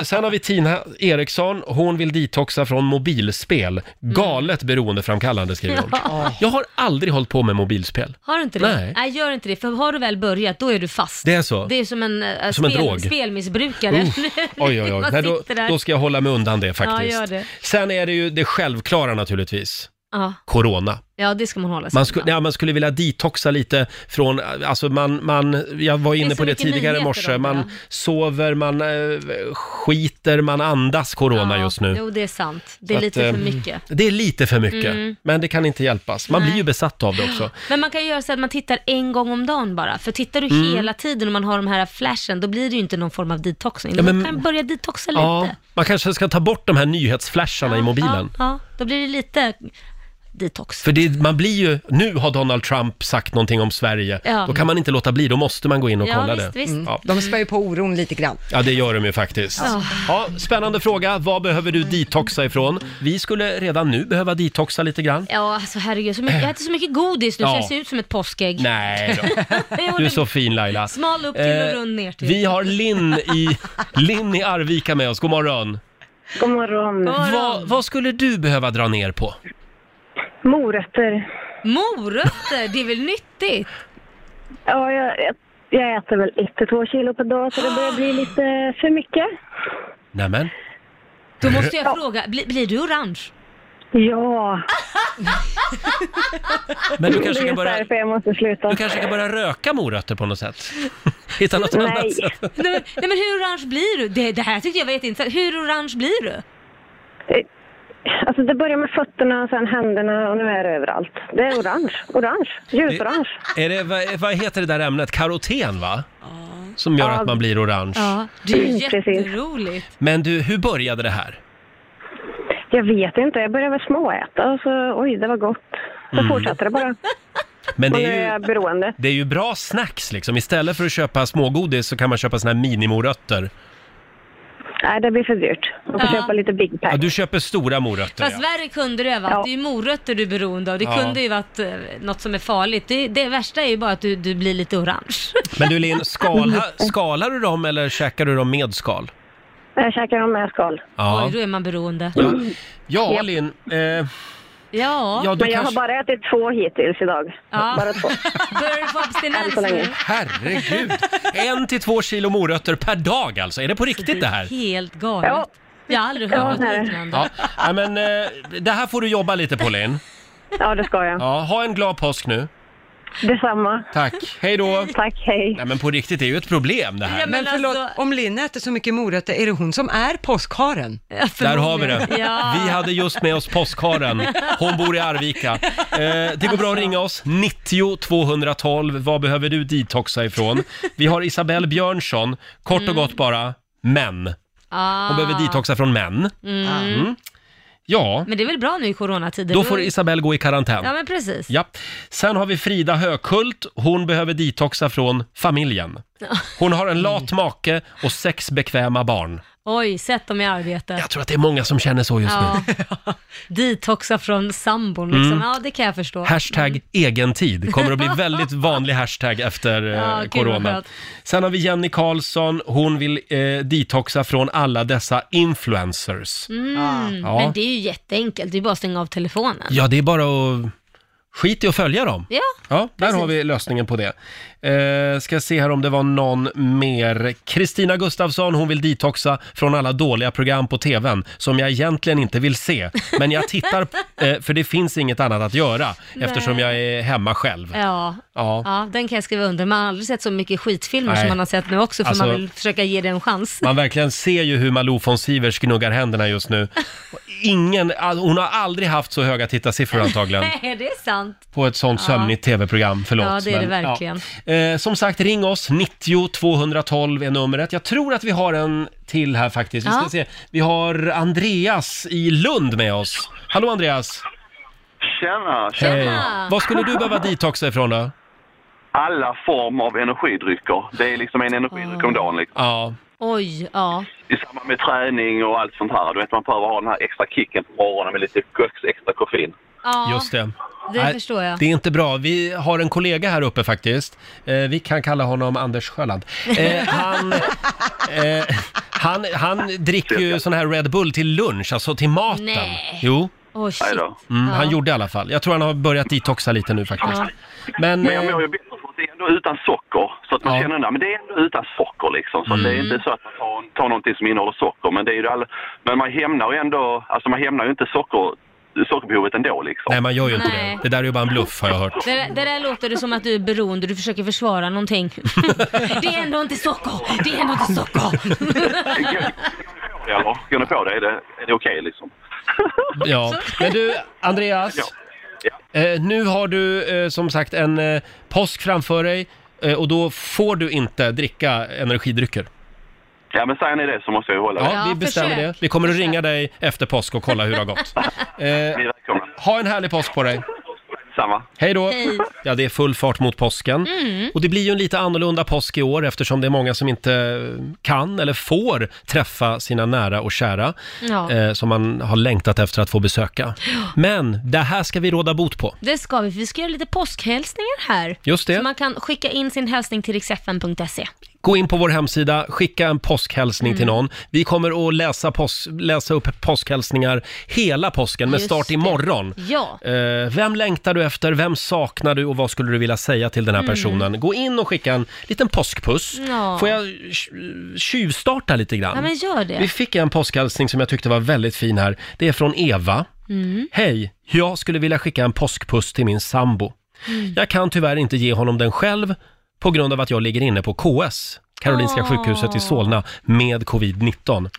Speaker 1: sen har vi Tina Eriksson. Hon vill detoxa från mobilspel.
Speaker 2: Mm.
Speaker 1: Galet beroendeframkallande skriver hon. Jag har aldrig hållit på med mobilspel.
Speaker 2: Har du inte det?
Speaker 1: Nej.
Speaker 2: Nej. gör inte det, för har du väl börjat då är du fast.
Speaker 1: Det är så?
Speaker 2: Det är som en, eh,
Speaker 1: Som en
Speaker 2: spel,
Speaker 1: drog.
Speaker 2: spelmissbrukare.
Speaker 1: Oj, oj, oj.
Speaker 2: Man
Speaker 1: Nej, då,
Speaker 2: sitter där.
Speaker 1: då ska jag hålla mig undan det faktiskt.
Speaker 2: Ja, gör det.
Speaker 1: Sen är det ju det självklara naturligtvis.
Speaker 2: ja,
Speaker 1: Corona.
Speaker 2: ja, det ska man hålla sig
Speaker 1: Man, sku,
Speaker 2: undan.
Speaker 1: ja, man skulle vilja detoxa lite från, alltså man, man jag var inne
Speaker 2: så
Speaker 1: på det
Speaker 2: mycket
Speaker 1: tidigare i
Speaker 2: nyheter
Speaker 1: morse,
Speaker 2: om det,
Speaker 1: man
Speaker 2: ja.
Speaker 1: sover, man eh, skiter, man andas corona
Speaker 2: ja,
Speaker 1: just nu.
Speaker 2: Jo, det är sant. Det är
Speaker 1: Så
Speaker 2: lite
Speaker 1: att,
Speaker 2: för
Speaker 1: eh,
Speaker 2: mycket.
Speaker 1: Det är lite för mycket, men det kan inte hjälpas. Man blir
Speaker 2: Mm. Nej.
Speaker 1: ju besatt av det också.
Speaker 2: Men man kan ju göra så att man tittar en gång om dagen bara. För tittar du
Speaker 1: Mm.
Speaker 2: hela tiden och man har de här flashen, då blir det ju inte någon form av detoxning.
Speaker 1: Ja,
Speaker 2: Ja,
Speaker 1: men-
Speaker 2: man kan börja detoxa
Speaker 1: Ja,
Speaker 2: lite.
Speaker 1: man kanske ska ta bort de här nyhetsflasharna i mobilen.
Speaker 2: Ja, ja, då blir det lite detox.
Speaker 1: För det, man blir ju, nu har Donald Trump sagt någonting om Sverige,
Speaker 2: Ja.
Speaker 1: då kan man inte låta bli, då måste man gå in och
Speaker 2: Ja,
Speaker 1: kolla
Speaker 2: visst,
Speaker 1: det.
Speaker 2: visst.
Speaker 1: Ja.
Speaker 3: De spär ju på oron lite grann.
Speaker 1: Ja, det gör de ju faktiskt.
Speaker 2: Ja.
Speaker 1: Ja, spännande fråga. Vad behöver du detoxa ifrån? Vi skulle redan nu behöva detoxa lite grann.
Speaker 2: Ja, alltså herregud. Så mycket, jag äter så mycket godis nu
Speaker 1: Ja.
Speaker 2: så jag ser ut som ett påskägg.
Speaker 1: Nej då.
Speaker 2: Jag
Speaker 1: Du
Speaker 2: håller
Speaker 1: är så fin Laila.
Speaker 2: Smal upp till och
Speaker 1: Eh,
Speaker 2: rund ner till.
Speaker 1: Vi har Linn i, Linn i Arvika med oss. God morgon.
Speaker 6: God morgon.
Speaker 2: Bara
Speaker 1: Vad- vad skulle du behöva dra ner på?
Speaker 6: Morötter.
Speaker 2: Morötter, det är väl nyttigt?
Speaker 6: Ja, jag, jag äter väl ett till två kilo per dag så det börjar bli lite för mycket.
Speaker 1: Nämen.
Speaker 2: Då måste jag fråga, bli, blir du orange?
Speaker 6: Ja,
Speaker 1: Men du
Speaker 6: det
Speaker 1: kanske
Speaker 6: är
Speaker 1: kan
Speaker 6: just
Speaker 1: börja,
Speaker 6: därför jag måste sluta.
Speaker 1: du kanske kan börja röka morötter på något sätt? Hitta något
Speaker 6: Nej.
Speaker 1: annat sätt.
Speaker 2: Nej men, nej men hur orange blir du? Det, det här tyckte jag var jätteintressant. Hur orange blir du?
Speaker 6: Alltså det börjar med fötterna, sen händerna och nu är det överallt. Det är orange, orange, ljusorange.
Speaker 1: Är det, vad, vad heter det där ämnet? Karoten va? Som gör
Speaker 6: Ja.
Speaker 1: att man blir orange.
Speaker 2: Ja, det är ju
Speaker 6: Mm, precis.
Speaker 2: jätteroligt.
Speaker 1: Men du, hur började det här?
Speaker 6: Jag vet inte, jag började väl småäta och så oj, det var gott. Så fortsatte det bara.
Speaker 1: Men
Speaker 6: Och
Speaker 1: det
Speaker 6: nu
Speaker 1: är
Speaker 6: är
Speaker 1: Mm. ju...
Speaker 6: jag beroende.
Speaker 1: Det är ju bra snacks liksom. Istället för att köpa smågodis så kan man köpa såna här minimorötter.
Speaker 6: Nej, det blir för dyrt. Man får
Speaker 2: Ja.
Speaker 6: köpa lite Big Pack.
Speaker 1: Ja, du köper stora morötter
Speaker 2: Fast
Speaker 1: ja.
Speaker 2: värre kunde det vara.
Speaker 6: Ja.
Speaker 2: Det är ju morötter du är beroende av. Det
Speaker 1: Ja.
Speaker 2: kunde ju varit eh, något som är farligt. Det, det värsta är ju bara att du, du blir lite orange.
Speaker 1: Men du Linn, skala, skalar du dem eller käkar du dem med skal?
Speaker 6: Jag käkar dem med skal.
Speaker 1: Ja,
Speaker 2: Oj, då är man beroende.
Speaker 1: ja. ja
Speaker 6: Ja.
Speaker 1: Linn. Eh,
Speaker 2: Ja,
Speaker 1: ja,
Speaker 6: Men
Speaker 1: du
Speaker 6: jag har
Speaker 1: kanske...
Speaker 6: bara ätit två hittills idag.
Speaker 2: Ja.
Speaker 6: Bara två.
Speaker 2: börjar du få abstinens
Speaker 6: Än så länge.
Speaker 2: nu?
Speaker 1: Herregud! En till två kilo morötter per dag alltså. Är det på riktigt det här?
Speaker 2: Helt galet.
Speaker 6: Ja.
Speaker 2: Jag har aldrig hört
Speaker 6: Ja, det är
Speaker 2: något
Speaker 6: det.
Speaker 2: liknande.
Speaker 1: Ja, ja men eh, det här får du jobba lite på Linn.
Speaker 6: Ja, det ska jag.
Speaker 1: Ja, ha en glad påsk nu.
Speaker 6: Detsamma.
Speaker 1: Tack. Hej då!
Speaker 6: Tack, hej.
Speaker 1: Nej men på riktigt, det är ju ett problem det
Speaker 2: Ja,
Speaker 1: här.
Speaker 2: men
Speaker 3: Men förlåt,
Speaker 2: alltså-
Speaker 3: om Linn äter så mycket morötter, är det hon som är påskharen?
Speaker 2: Ja,
Speaker 1: Där har vi det.
Speaker 2: förmodligen. Ja.
Speaker 1: Vi hade just med oss påskharen. Hon bor i Arvika. Eh, det går bra att ringa oss. 90 212. Vad behöver du detoxa ifrån? Vi har Isabelle Björnsson. Kort och gott bara, män.
Speaker 2: Mm. Ah.
Speaker 1: Hon behöver detoxa från män. Mm. Ja,
Speaker 2: Men det är väl bra nu i coronatider?
Speaker 1: då får Isabelle gå i karantän.
Speaker 2: Ja, men precis.
Speaker 1: Ja. Sen har vi Frida Hökult. Hon behöver detoxa från familjen. Hon har en lat make och sex bekväma barn.
Speaker 2: Oj, sätt dem i arbete.
Speaker 1: Jag tror att det är många som känner så just nu.
Speaker 2: Ja. Detoxa från sambon liksom.
Speaker 1: Mm.
Speaker 2: Ja, det kan jag förstå.
Speaker 1: Hashtag egentid kommer att bli väldigt vanlig hashtag efter eh,
Speaker 2: Ja, gud, vad
Speaker 1: corona.
Speaker 2: skönt.
Speaker 1: Sen har vi Jenny Karlsson, hon vill eh, detoxa från alla dessa influencers.
Speaker 2: Mm.
Speaker 1: Ja.
Speaker 2: Men det är ju jätteenkelt, det är bara att stänga av telefonen.
Speaker 1: Ja, det är bara att skit i att följa dem.
Speaker 2: Ja.
Speaker 1: Ja, där har vi lösningen på det. Eh, ska se här om det var någon mer. Kristina Gustafsson, hon vill detoxa från alla dåliga program på tvn som jag egentligen inte vill se. Men jag tittar, eh, för det finns inget annat att göra
Speaker 2: Nej.
Speaker 1: eftersom jag är hemma själv.
Speaker 2: Ja.
Speaker 1: Ja.
Speaker 2: ja, den kan jag skriva under. Man har aldrig sett så mycket skitfilmer
Speaker 1: Nej.
Speaker 2: som man har sett nu också, för
Speaker 1: Alltså-
Speaker 2: man vill försöka ge det en chans.
Speaker 1: Man verkligen ser ju hur Malou von Sivers gnuggar händerna just nu. Ingen, all- hon har aldrig haft så höga tittarsiffror antagligen
Speaker 2: Nej, det är sant.
Speaker 1: på ett sånt sömnigt tv-program. Förlåt.
Speaker 2: ja, det är det
Speaker 1: men, ja.
Speaker 2: verkligen.
Speaker 1: Eh, som sagt, ring oss. 90 212 är numret. Jag tror att vi har en till här faktiskt. Vi ska
Speaker 2: Ja.
Speaker 1: se. Vi har Andreas i Lund med oss. Hallå Andreas!
Speaker 10: Tjena,
Speaker 1: Hej. Vad skulle du behöva detoxa ifrån då?
Speaker 10: Alla former av energidrycker. Det är liksom en energidryck
Speaker 8: Ah.
Speaker 10: om dagen. Liksom.
Speaker 1: Ja.
Speaker 2: Oj, ja.
Speaker 10: I samband med träning och allt sånt här. Du vet, man behöver ha den här extra kicken på morgonen med lite koks- extra koffein.
Speaker 2: ja.
Speaker 1: Just det.
Speaker 2: det
Speaker 1: Nej,
Speaker 2: förstår jag.
Speaker 1: Det är inte bra. Vi har en kollega här uppe faktiskt. Eh, vi kan kalla honom Anders Sjöland. Eh, han, eh, han, han dricker ju sån här Red Bull till lunch, alltså till maten.
Speaker 2: Nej.
Speaker 1: Jo.
Speaker 2: Åh, shit.
Speaker 1: Mm,
Speaker 2: Ja.
Speaker 1: Han gjorde i alla fall. Jag tror han har börjat detoxa lite nu faktiskt.
Speaker 2: Ja.
Speaker 1: Men,
Speaker 10: Men jag
Speaker 1: eh,
Speaker 10: mår ju bättre för att det är ändå utan socker. Så att man känner ändå, men det är ändå utan socker liksom. Så att
Speaker 11: Mm.
Speaker 10: det är inte så att man tar, tar någonting som innehåller socker. Men, det är ju all, men man hämnar ju ändå, alltså man hämnar ju inte socker, sockerbehovet ändå liksom.
Speaker 1: Nej, man gör ju inte
Speaker 2: Nej.
Speaker 1: det. Det där är ju bara en bluff har jag hört.
Speaker 2: Det där, det där låter det som att du är beroende, du försöker försvara någonting. det är ändå inte socker, det är ändå inte socker.
Speaker 10: Eller, går ni på det? Är det, är det okej liksom?
Speaker 1: Ja. Men du, Andreas. Eh, nu har du eh, som sagt en eh, påsk framför dig eh, och då får du inte dricka energidrycker.
Speaker 10: Ja men säger ni det så måste jag ju hålla
Speaker 1: Ja,
Speaker 10: det.
Speaker 1: vi bestämmer det. Vi kommer att ringa dig efter påsk och kolla hur det har gått.
Speaker 10: Ni är
Speaker 1: Eh,
Speaker 10: välkomna.
Speaker 1: ha en härlig påsk på dig.
Speaker 10: Samma.
Speaker 1: Hej då!
Speaker 2: Hej. Mm.
Speaker 1: Ja, det är full fart mot påsken. Och det blir ju en lite annorlunda påsk i år eftersom det är många som inte kan eller får träffa sina nära och kära.
Speaker 2: Ja.
Speaker 1: eh, som man har längtat efter att få besöka. Men det här ska vi råda bot på.
Speaker 2: Det ska vi, för vi ska göra lite påskhälsningar här.
Speaker 1: Just
Speaker 2: Så
Speaker 1: det.
Speaker 2: man kan skicka in sin hälsning till riksfn.se.
Speaker 1: Gå in på vår hemsida, skicka en påskhälsning till
Speaker 2: Mm.
Speaker 1: någon. Vi kommer att läsa, pås- läsa upp påskhälsningar hela påsken med
Speaker 2: Just
Speaker 1: start
Speaker 2: det.
Speaker 1: imorgon.
Speaker 2: Ja,
Speaker 1: Eh, vem längtar du efter? Vem saknar du och vad skulle du vilja säga till den här
Speaker 2: Mm.
Speaker 1: personen? Gå in och skicka en liten påskpuss.
Speaker 2: Ja.
Speaker 1: Får jag tj- tjuvstarta lite grann?
Speaker 2: ja men gör
Speaker 1: Vi
Speaker 2: det.
Speaker 1: fick en påskhälsning som jag tyckte var väldigt fin här. Det är från Eva.
Speaker 2: Mm.
Speaker 1: Hej, jag skulle vilja skicka en påskpuss till min sambo.
Speaker 2: Mm.
Speaker 1: Jag kan tyvärr inte ge honom den själv på grund av att jag ligger inne på KS, Karolinska
Speaker 2: Åh.
Speaker 1: sjukhuset i Solna, med covid-19.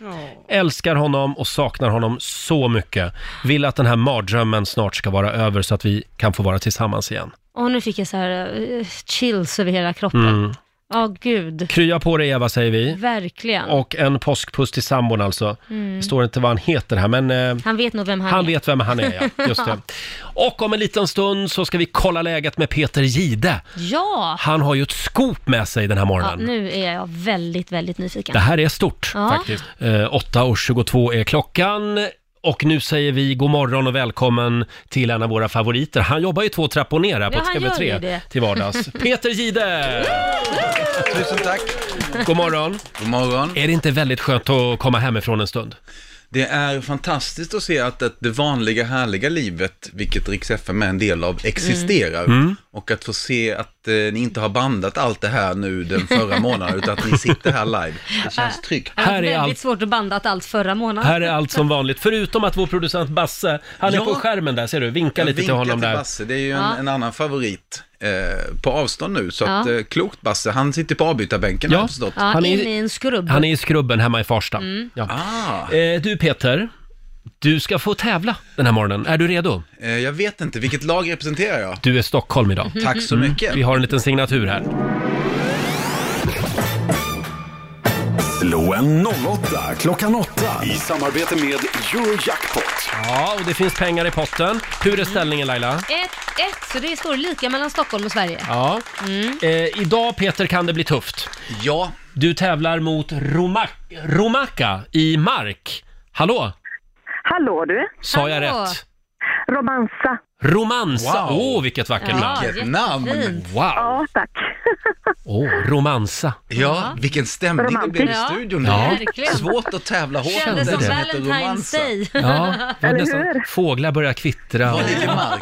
Speaker 1: Älskar honom och saknar honom så mycket. Vill att den här mardrömmen snart ska vara över så att vi kan få vara tillsammans igen.
Speaker 2: Och nu fick jag så här eh, chills över hela kroppen.
Speaker 1: Mm.
Speaker 2: Ja, gud.
Speaker 1: Krya på dig Eva, säger vi.
Speaker 2: Verkligen.
Speaker 1: Och en påskpuss till sambon alltså.
Speaker 2: Mm.
Speaker 1: Det står inte vad han heter här, men eh,
Speaker 2: Han vet nog vem han,
Speaker 1: Han
Speaker 2: är.
Speaker 1: vet vem han är, ja. Just det. Och om en liten stund så ska vi kolla läget med Peter Gide.
Speaker 2: Ja!
Speaker 1: Han har ju ett skop med sig den här
Speaker 2: ja!
Speaker 1: morgonen.
Speaker 2: Nu är jag väldigt, väldigt nyfiken.
Speaker 1: Det här är stort
Speaker 2: Ja.
Speaker 1: faktiskt. Eh, 8.22 är klockan. Och nu säger vi god morgon och välkommen till en av våra favoriter. Han jobbar ju två trappor ner här på
Speaker 2: Ja, han gör ju
Speaker 1: TV3
Speaker 2: det.
Speaker 1: till vardags. Peter Gide!
Speaker 11: Tusen tack.
Speaker 1: God morgon!
Speaker 11: God morgon.
Speaker 1: Är det inte väldigt skönt att komma hemifrån en stund?
Speaker 11: Det är fantastiskt att se att det- det vanliga härliga livet, vilket Rix FM är en del av, existerar.
Speaker 1: Mm. Mm.
Speaker 11: Och att få se att eh, ni inte har bandat allt det här nu den förra månaden, utan att ni sitter här live. Det känns tryggt.
Speaker 2: Det var
Speaker 1: Här är
Speaker 2: väldigt
Speaker 1: allt-
Speaker 2: svårt att banda att allt förra månaden.
Speaker 1: Här är allt som vanligt, förutom att vår producent Basse, han är
Speaker 11: Ja.
Speaker 1: på skärmen där ser du, vinka
Speaker 11: Jag
Speaker 1: lite till
Speaker 11: vinkar
Speaker 1: honom där.
Speaker 11: Basse, det är ju en,
Speaker 2: Ja.
Speaker 11: en annan favorit eh, på avstånd nu. Så att,
Speaker 2: Ja.
Speaker 11: eh, klokt Basse, han sitter på avbytarbänken har jag förstått.
Speaker 2: Ja,
Speaker 1: Han är-
Speaker 2: in i Mm. en skrubb.
Speaker 1: Han är i skrubben hemma i Farsta. Ja.
Speaker 11: Ah.
Speaker 1: Eh, du Peter, du ska få tävla den här morgonen. Är du redo?
Speaker 11: Eh, jag vet inte, vilket lag representerar jag?
Speaker 1: Du är Stockholm idag.
Speaker 8: Mm-hmm.
Speaker 11: Tack så mycket.
Speaker 1: Vi har en liten signatur här.
Speaker 4: Slå en 08 klockan 8 i samarbete med Eurojackpot.
Speaker 1: Ja, och det finns pengar i potten. Hur
Speaker 2: Mm.
Speaker 1: är ställningen Laila?
Speaker 2: 1-1, så det står lika mellan Stockholm och Sverige.
Speaker 1: Ja.
Speaker 2: Mm.
Speaker 1: Eh, idag Peter kan det bli tufft.
Speaker 11: Ja,
Speaker 1: Du tävlar mot Roma- Romaka i Mark. Hallå?
Speaker 6: Hallå du!
Speaker 1: Sa jag Hallå. rätt?
Speaker 6: Romansa.
Speaker 1: Romansa! Åh,
Speaker 6: Wow.
Speaker 1: vilket vackert
Speaker 6: Ja,
Speaker 1: namn!
Speaker 6: Vilket namn. jättefint.
Speaker 1: Wow!
Speaker 6: Ja, tack.
Speaker 1: Åh, Romansa.
Speaker 11: Ja, vilken stämning det blev i
Speaker 6: Romantiskt.
Speaker 11: studion.
Speaker 1: Ja,
Speaker 11: nu.
Speaker 1: verkligen.
Speaker 11: Svårt att tävla hårt mot
Speaker 2: Kändes
Speaker 11: den
Speaker 2: som
Speaker 11: som heter
Speaker 2: Valentine's
Speaker 11: Romansa.
Speaker 2: Day.
Speaker 1: Ja, det var
Speaker 2: Eller
Speaker 1: nästan,
Speaker 2: hur?
Speaker 1: fåglar börjar kvittra.
Speaker 11: Var ligger Mark?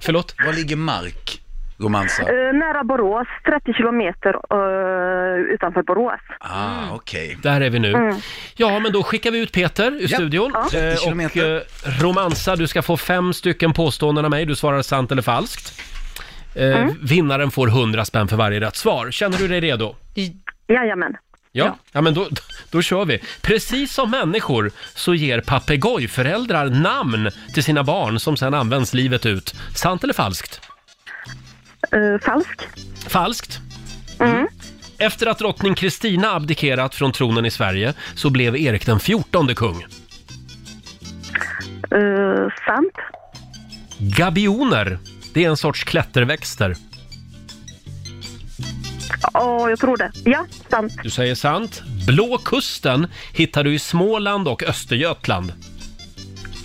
Speaker 1: Förlåt?
Speaker 11: Var ligger Mark, Romansa?
Speaker 6: Eh, nära Borås, 30 kilometer eh, utanför Borås.
Speaker 11: Ah, okej.
Speaker 1: Där är vi nu.
Speaker 6: Mm.
Speaker 1: Ja, men då skickar vi ut Peter ur studion.
Speaker 6: Ja.
Speaker 1: Eh,
Speaker 6: 30
Speaker 1: Och
Speaker 6: kilometer.
Speaker 1: eh, Romansa, du ska få fem stycken påståenden av mig. Du svarar sant eller falskt. Eh,
Speaker 6: Mm.
Speaker 1: Vinnaren får 100 spänn för varje rätt svar. Känner du dig redo?
Speaker 6: Jajamän.
Speaker 1: Ja, ja men då, då kör vi. Precis som människor så ger papegojföräldrar namn till sina barn som sedan används livet ut. Sant eller falskt?
Speaker 6: Eh, falsk.
Speaker 1: Falskt.
Speaker 6: Mm.
Speaker 1: Mm. Efter att drottning Kristina abdikerat från tronen i Sverige så blev Erik den fjortonde kung.
Speaker 6: Eh, sant.
Speaker 1: Gabioner, det är en sorts klätterväxter.
Speaker 6: Ja, jag tror det. Ja, sant.
Speaker 1: Du säger sant. Blå kusten hittar du i Småland och Östergötland.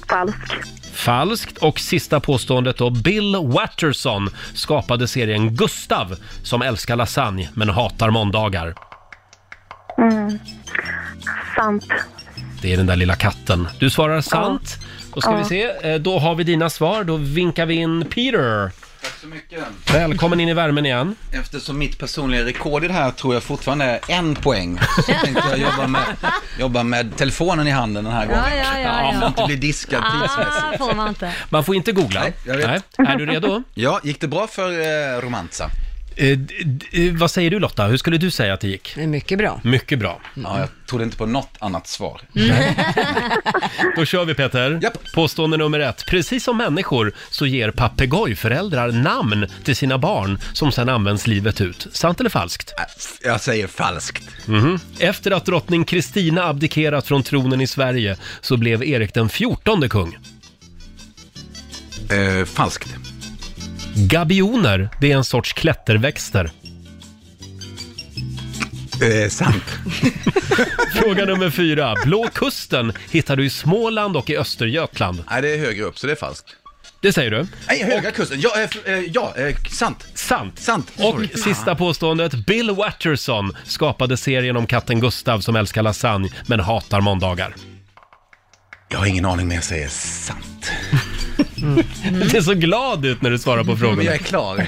Speaker 6: Falsk.
Speaker 1: Falskt. Och sista påståendet då. Bill Watterson skapade serien Gustav som älskar lasagne men hatar måndagar.
Speaker 6: Mm. Sant.
Speaker 1: Det är den där lilla katten. Du svarar sant. Då ska
Speaker 6: Ja.
Speaker 1: vi se. Eh, Då har vi dina svar. Då vinkar vi in Peter.
Speaker 11: Tack så mycket.
Speaker 1: Välkommen in i värmen igen.
Speaker 11: Eftersom mitt personliga rekord i det här tror jag fortfarande är en poäng. Så tänkte jag jobba med, jobba med telefonen i handen den här
Speaker 2: Ja,
Speaker 11: gången.
Speaker 2: ja, ja, ja.
Speaker 11: För att inte bli diskad tidsmässigt.
Speaker 2: Ah, får man inte.
Speaker 1: Man får inte googla.
Speaker 11: Nej, jag vet.
Speaker 1: Nej. Är du redo?
Speaker 11: Ja, gick det bra för eh, Romanza?
Speaker 1: Eh, vad säger du Lotta? Hur skulle du säga att det gick?
Speaker 3: Mycket bra.
Speaker 1: Mycket bra.
Speaker 11: Ja, jag trodde inte på något annat svar.
Speaker 1: Då kör vi Peter. Påstående nummer ett. Precis som människor så ger papegojföräldrar namn till sina barn som sedan används livet ut. Sant eller falskt?
Speaker 11: Äh, Jag säger falskt.
Speaker 1: Mhm. Efter att drottning Kristina abdikerat från tronen i Sverige så blev Erik den fjortonde kung.
Speaker 11: Eh, falskt.
Speaker 1: Gabioner, det är en sorts klätterväxter.
Speaker 11: Eh, sant.
Speaker 1: Fråga nummer fyra. Blå kusten hittar du i Småland och i Östergötland.
Speaker 11: Nej, det är högre upp, så det är falskt.
Speaker 1: Det säger du?
Speaker 11: Nej, höga kusten. Ja, eh, f- eh, ja eh, sant.
Speaker 1: Sant.
Speaker 11: Sant.
Speaker 1: Och sista påståendet. Bill Watterson skapade serien om katten Gustav som älskar lasagne men hatar måndagar.
Speaker 11: Mm. Jag har ingen aning, men jag säger sant.
Speaker 1: Du ser så glad ut när du svarar på frågorna.
Speaker 11: Men Mm, jag är klar.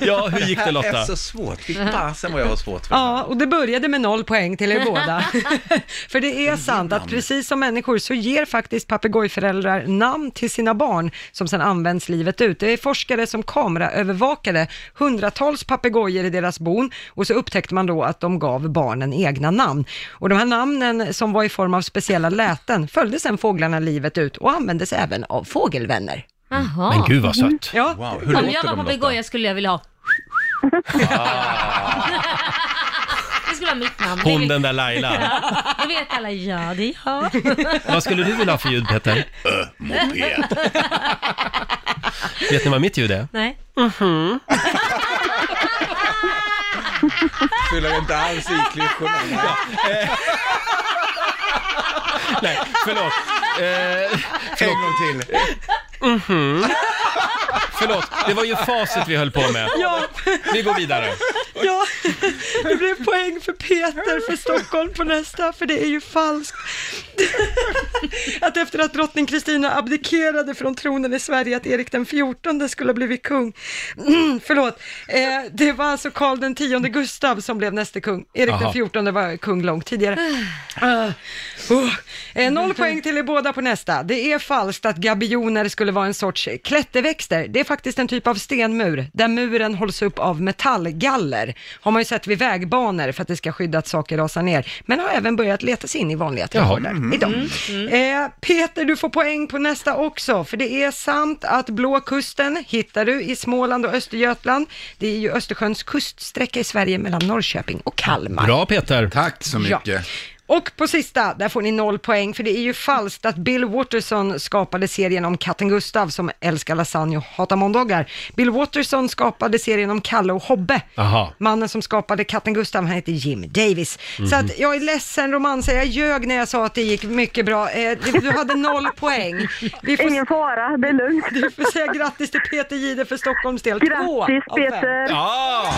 Speaker 1: Ja, hur gick det
Speaker 11: Det här
Speaker 1: Lotta?
Speaker 11: är så svårt. Fy fasen vad jag har svårt för.
Speaker 3: Ja, och det började med noll poäng till er båda. För det är sant att precis som människor så ger faktiskt papegojföräldrar namn till sina barn som sedan används livet ut. Det är forskare som kameraövervakade hundratals papegojor i deras bon och så upptäckte man då att de gav barnen egna namn. Och de här namnen som var i form av speciella läten följde sedan fåglarna livet ut och användes även av fågelvänner.
Speaker 2: Jaha.
Speaker 1: Men gud vad sött.
Speaker 3: Ja.
Speaker 11: Wow, hur
Speaker 2: Om
Speaker 11: låter
Speaker 2: jag var
Speaker 11: de Lotta?
Speaker 2: papegoja skulle jag vilja ha... det skulle vara mitt namn. Det
Speaker 1: Hon
Speaker 2: vet-
Speaker 1: den där Laila.
Speaker 2: Ja, Det vet alla. Ja, det är jag.
Speaker 1: Vad skulle du vilja ha för ljud Peter? Vet ni vad mitt ljud är?
Speaker 2: Nej.
Speaker 11: Fyller inte alls i klyschorna.
Speaker 1: Nej, förlåt. Eh,
Speaker 11: En gång till.
Speaker 1: mhm. Förlåt, det var ju facit vi höll på med.
Speaker 3: Ja,
Speaker 1: Vi går vidare.
Speaker 3: Ja, det blev poäng för Peter för Stockholm på nästa, för det är ju falskt. Att efter att drottning Kristina abdikerade från tronen i Sverige, att Erik den XIV skulle ha blivit kung. Mm, förlåt, eh, det var alltså Karl den X Gustav som blev näste kung. Erik
Speaker 1: Jaha.
Speaker 3: den XIV var kung långt tidigare. Ah, oh. eh, noll poäng till er båda på nästa. Det är falskt att gabioner skulle vara en sorts klätterväxter. Det är faktiskt en typ av stenmur, där muren hålls upp av metallgaller. Har man ju sett vid vägbanor för att det ska skydda att saker rasar ner, men har även börjat leta sig in i vanliga trädgårdar
Speaker 1: mhm.
Speaker 3: idag. Eh, Peter, du får poäng på nästa också, för det är sant att Blå kusten hittar du i Småland och Östergötland. Det är ju Östersjöns kuststräcka i Sverige mellan Norrköping och Kalmar.
Speaker 1: Bra Peter.
Speaker 11: Tack så mycket.
Speaker 3: Ja. Och på sista, där får ni noll poäng, för det är ju falskt att Bill Watterson skapade serien om katten Gustav som älskar lasagne och hatar måndagar. Bill Watterson skapade serien om Kalle och Hobbe.
Speaker 1: Aha.
Speaker 3: Mannen som skapade katten Gustav, han heter Jim Davis. Så
Speaker 1: Mhm.
Speaker 3: att jag är ledsen romansare, jag ljög när jag sa att det gick mycket bra. Eh, du- Du hade noll poäng. Ingen
Speaker 6: fara, det är lugnt.
Speaker 3: Du får säga grattis till Peter Jihde för Stockholms del. Två av
Speaker 6: Grattis,
Speaker 3: fem.
Speaker 6: Peter.
Speaker 1: Ja!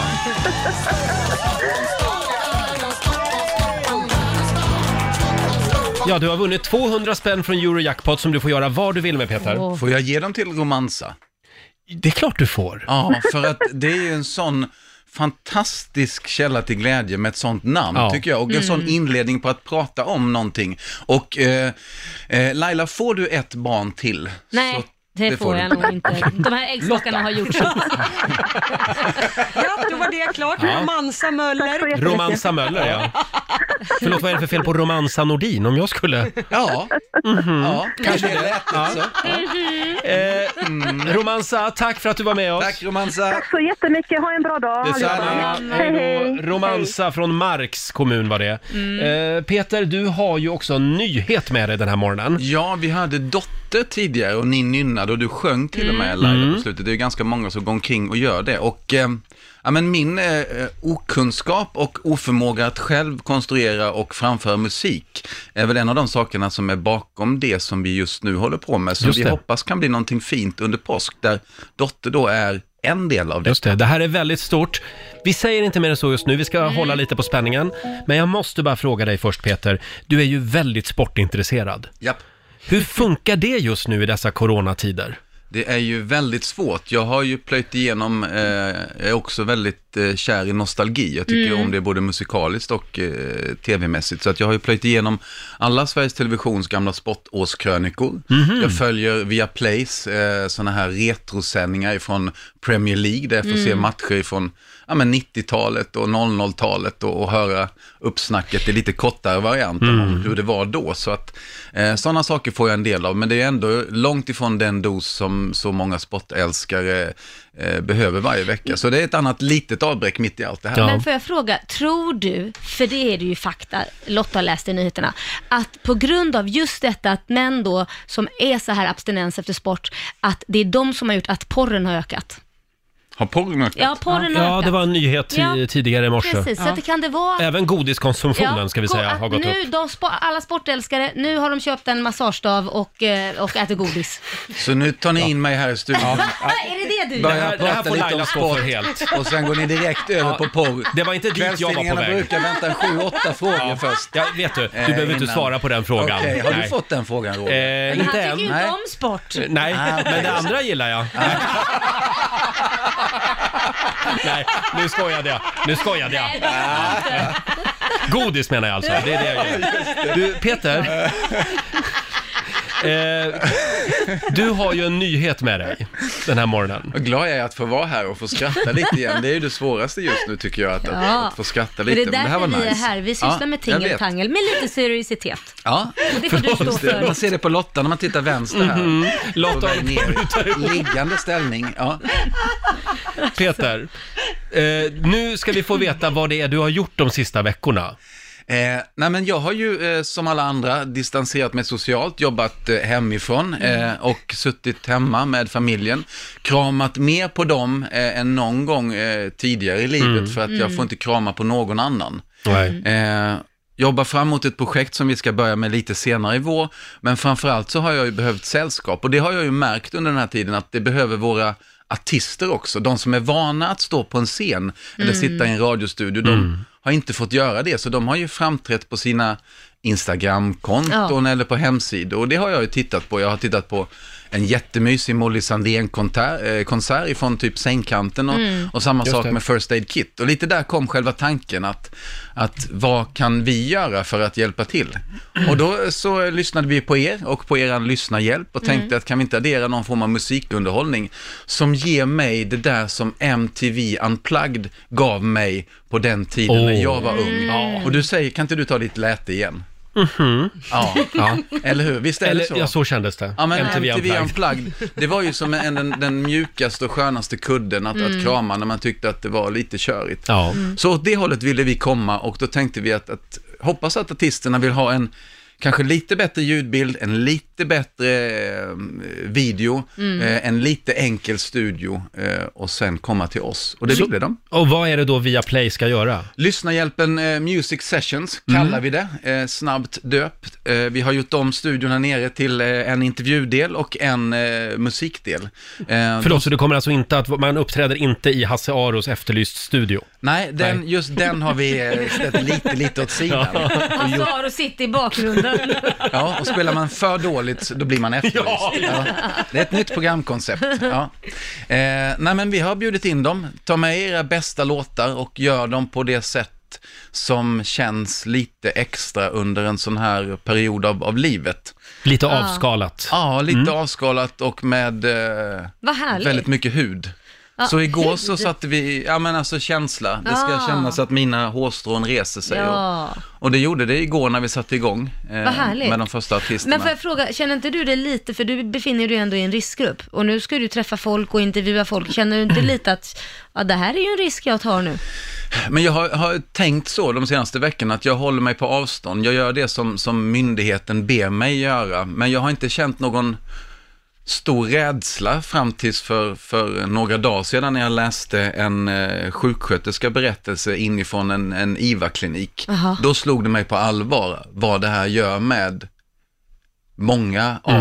Speaker 1: Ja, du har vunnit 200 spänn från Eurojackpot som du får göra vad du vill med Peter.
Speaker 11: Åh. Får jag ge dem till Romansa?
Speaker 1: Det är klart du får.
Speaker 11: Ja, för att det är ju en sån fantastisk källa till glädje med ett sånt namn,
Speaker 1: Ja.
Speaker 11: tycker jag. Och en sån
Speaker 1: Mm.
Speaker 11: inledning på att prata om någonting. Och eh, eh, Laila, får du ett barn till?
Speaker 2: Nej, det,
Speaker 11: det
Speaker 2: får,
Speaker 11: får
Speaker 2: jag
Speaker 11: du.
Speaker 2: nog inte. De här äggstockarna har gjort så.
Speaker 3: Ja, då var det klart.
Speaker 1: Ja.
Speaker 3: Romansa Möller.
Speaker 1: Romansa Möller, ja. Förlåt, vad är det för fel på Romansa Nordin om jag skulle...
Speaker 11: Ja,
Speaker 1: Mhm.
Speaker 11: ja kanske det lät
Speaker 1: Ja.
Speaker 11: så.
Speaker 1: Eh, Romansa, tack för att du var med oss.
Speaker 11: Tack Romansa.
Speaker 6: Tack så jättemycket, ha en bra dag
Speaker 1: Detsamma.
Speaker 6: Hej,
Speaker 1: Hej
Speaker 6: hej.
Speaker 1: då. Romansa från Marks kommun var det. Eh, Peter, du har ju också en nyhet med dig den här morgonen.
Speaker 11: Ja, vi hade Dotter tidigare och ni nynnade och du sjöng till och
Speaker 1: Mm.
Speaker 11: med Laila på slutet. Det är ju ganska många som går omkring och gör det. Och eh, ja, men min eh, okunskap och oförmåga att själv konstruera och framföra musik är väl en av de sakerna som är bakom det som vi just nu håller på med. Som
Speaker 1: Just
Speaker 11: vi
Speaker 1: det.
Speaker 11: hoppas kan bli någonting fint under påsk, där Dotter då är en del av det.
Speaker 1: Just det, det här är väldigt stort. Vi säger inte mer än så just nu, vi ska hålla lite på spänningen. Men jag måste bara fråga dig först Peter, du är ju väldigt sportintresserad.
Speaker 11: Japp.
Speaker 1: Hur funkar det just nu i dessa coronatider?
Speaker 11: Det är ju väldigt svårt. Jag har ju plöjt igenom, eh, jag är också väldigt eh, kär i nostalgi. Jag tycker
Speaker 12: Mm.
Speaker 11: om det både musikaliskt och eh, tv-mässigt. Så att jag har ju plöjt igenom alla Sveriges Televisions gamla sportårskrönikor.
Speaker 12: Mhm.
Speaker 11: Jag följer via Plays eh, sådana här retrosändningar från Premier League, där jag får se
Speaker 12: Mm.
Speaker 11: matcher från ja, men 90-talet och 00-talet och, och höra uppsnacket i lite kortare varianter om
Speaker 12: Mm.
Speaker 11: hur det var då. Så att eh, sådana saker får jag en del av, men det är ändå långt ifrån den dos som så många sportälskare eh, behöver varje vecka. Så det är ett annat litet avbräck mitt i allt det här.
Speaker 2: Men får jag fråga, tror du, för det är det ju fakta, Lotta läste i nyheterna, att på grund av just detta att män då som är så här abstinens efter sport, att det är de som har gjort att porren har ökat?
Speaker 11: Har porren ökat?
Speaker 2: Ja, porren har
Speaker 1: Ja,
Speaker 2: ökat.
Speaker 1: det var en nyhet ti-
Speaker 2: Ja,
Speaker 1: tidigare i morse.
Speaker 2: Precis, så att det kan det vara att
Speaker 1: Även godiskonsumtionen ska vi
Speaker 2: ko-
Speaker 1: säga
Speaker 2: att
Speaker 1: har gått
Speaker 2: nu
Speaker 1: upp.
Speaker 2: De spo- alla sportälskare, nu har de köpt en massagestav och, eh, och äter godis.
Speaker 11: Så nu tar ni in mig här i studion.
Speaker 2: är det det du
Speaker 11: Börja
Speaker 2: gör?
Speaker 1: här- det här
Speaker 11: prata
Speaker 1: får
Speaker 11: lite
Speaker 1: Laila
Speaker 11: om
Speaker 1: stå
Speaker 11: sport
Speaker 1: för helt.
Speaker 11: och sen går ni direkt över
Speaker 1: Ja,
Speaker 11: på porr.
Speaker 1: Det var inte dit jag var på
Speaker 11: Kvällstidningarna
Speaker 1: väg.
Speaker 11: brukar vänta sju, åtta frågor först. eh,
Speaker 1: Ja, vet du, du behöver inte svara på den frågan.
Speaker 11: Okej, har
Speaker 1: Nej.
Speaker 11: du fått den frågan Roger?
Speaker 1: Eh,
Speaker 2: Men han
Speaker 1: inte
Speaker 2: tycker
Speaker 1: än.
Speaker 2: ju inte om sport.
Speaker 1: Nej,
Speaker 11: Ah, okej. Ah.
Speaker 1: men det andra gillar jag. Nej, nu skojade jag. Nu skojade jag. Godis menar jag alltså. Det är det jag gör. Du, Peter. Eh, du har ju en nyhet med dig den här morgonen.
Speaker 11: Vad glad jag är att få vara här och få skratta lite igen. Det är ju det svåraste just nu tycker jag, att,
Speaker 2: Ja.
Speaker 11: att, att få skratta
Speaker 2: Men det
Speaker 11: lite.
Speaker 2: är därför
Speaker 11: var
Speaker 2: vi är
Speaker 11: nice.
Speaker 2: här. Vi sysslar
Speaker 11: Ja,
Speaker 2: med
Speaker 11: jag
Speaker 2: ting och
Speaker 11: vet.
Speaker 2: tangel med lite seriositet.
Speaker 11: Ja,
Speaker 2: Det får du stå
Speaker 11: Just det.
Speaker 2: för.
Speaker 11: Man ser det på Lotta när man tittar vänster här.
Speaker 1: Mhm. Lotta
Speaker 11: På väg
Speaker 1: håller på att bryta
Speaker 11: ner.
Speaker 1: ihop.
Speaker 11: Liggande ställning, ja.
Speaker 1: Peter, eh, nu ska vi få veta vad det är du har gjort de sista veckorna.
Speaker 11: Eh, nej men jag har ju eh, som alla andra distanserat mig socialt, jobbat eh, hemifrån eh,
Speaker 2: Mm.
Speaker 11: och suttit hemma med familjen. Kramat mer på dem eh, än någon gång eh, tidigare i livet
Speaker 12: Mm.
Speaker 11: för att jag
Speaker 12: Mm.
Speaker 11: får inte krama på någon annan.
Speaker 12: Nej.
Speaker 11: Eh, jobbar fram mot ett projekt som vi ska börja med lite senare i vår, men framförallt så har jag ju behövt sällskap och det har jag ju märkt under den här tiden att det behöver våra artister också, de som är vana att stå på en scen eller
Speaker 12: Mm.
Speaker 11: sitta i en radiostudio, de har inte fått göra det, så de har ju framträtt på sina Instagram-konton eller på hemsidor och det har jag ju tittat på. Jag har tittat på en jättemysig Molly Sandén-konsert ifrån typ sängkanten och,
Speaker 12: Mm.
Speaker 11: och samma
Speaker 12: Just
Speaker 11: sak
Speaker 12: det.
Speaker 11: med First Aid Kit. Och lite där kom själva tanken att, att vad kan vi göra för att hjälpa till? Och då så lyssnade vi på er och på er lyssnarhjälp och tänkte
Speaker 12: Mm.
Speaker 11: att kan vi inte addera någon form av musikunderhållning som ger mig det där som MTV Unplugged gav mig på den tiden när
Speaker 12: Oh.
Speaker 1: Åh.
Speaker 11: jag var ung. Och du säger, kan inte du ta ditt läte igen?
Speaker 1: Mhm.
Speaker 11: Ja,
Speaker 1: Ja.
Speaker 11: eller hur? Visst är
Speaker 1: Eller,
Speaker 11: det så?
Speaker 1: Ja, så kändes det.
Speaker 11: Ja, men MTV,
Speaker 1: Unplugged.
Speaker 11: Unplugged, det var ju som en, den, den mjukaste och skönaste kudden att,
Speaker 12: Mm.
Speaker 11: att krama när man tyckte att det var lite körigt.
Speaker 1: Ja.
Speaker 12: Mm.
Speaker 11: Så åt det hållet ville vi komma och då tänkte vi att, att hoppas att artisterna vill ha en kanske lite bättre ljudbild, en lite bättre eh, video,
Speaker 1: Mm.
Speaker 11: eh, en lite enkel studio eh, och sen komma till oss. Och det
Speaker 1: Så-
Speaker 11: ville de.
Speaker 1: Och vad är det då Viaplay ska göra?
Speaker 11: Lyssnarhjälpen eh, Music Sessions
Speaker 1: Mm.
Speaker 11: kallar vi det, eh, snabbt döpt. Eh, vi har gjort om studion här nere till eh, en intervjudel och en eh, musikdel. Eh,
Speaker 1: Förlåt, så det kommer alltså inte att, man uppträder inte i Hasse Aros Efterlyst studio?
Speaker 11: Nej, den,
Speaker 1: Nej.
Speaker 11: just den har vi eh, ställt lite, lite åt sidan. Och
Speaker 2: Hasse
Speaker 11: gjort-
Speaker 2: Aro sitter i bakgrunden.
Speaker 11: Ja, och spelar man för dåligt, då blir man efterlyst. Ja. Det är ett nytt programkoncept. Ja. Eh, nej, men vi har bjudit in dem. Ta med era bästa låtar och gör dem på det sätt som känns lite extra under en sån här period av, av livet. Mm.
Speaker 1: Lite Ja. avskalat.
Speaker 11: Ja, lite avskalat och med eh,
Speaker 2: Vad härligt.
Speaker 11: väldigt mycket hud.
Speaker 2: Ja,
Speaker 11: så igår så
Speaker 2: hud.
Speaker 11: satte vi, ja men alltså känsla. Det ska
Speaker 2: Ja.
Speaker 11: kännas att mina hårstrån reser sig.
Speaker 2: Ja.
Speaker 11: Och, och det gjorde det igår när vi satte igång eh,
Speaker 2: Vad härligt.
Speaker 11: med de första artisterna.
Speaker 2: Men får jag fråga, känner inte du dig lite, för du befinner dig ju ändå i en riskgrupp och nu ska du träffa folk och intervjua folk, känner du inte lite att ja, det här är ju en risk jag tar nu?
Speaker 11: Men jag har, har tänkt så de senaste veckorna, att jag håller mig på avstånd. Jag gör det som, som myndigheten ber mig göra, men jag har inte känt någon stor rädsla fram tills för, för några dagar sedan när jag läste en eh, sjuksköterska berättelse inifrån en, en IVA-klinik.
Speaker 8: Aha.
Speaker 11: Då slog det mig på allvar vad det här gör med många av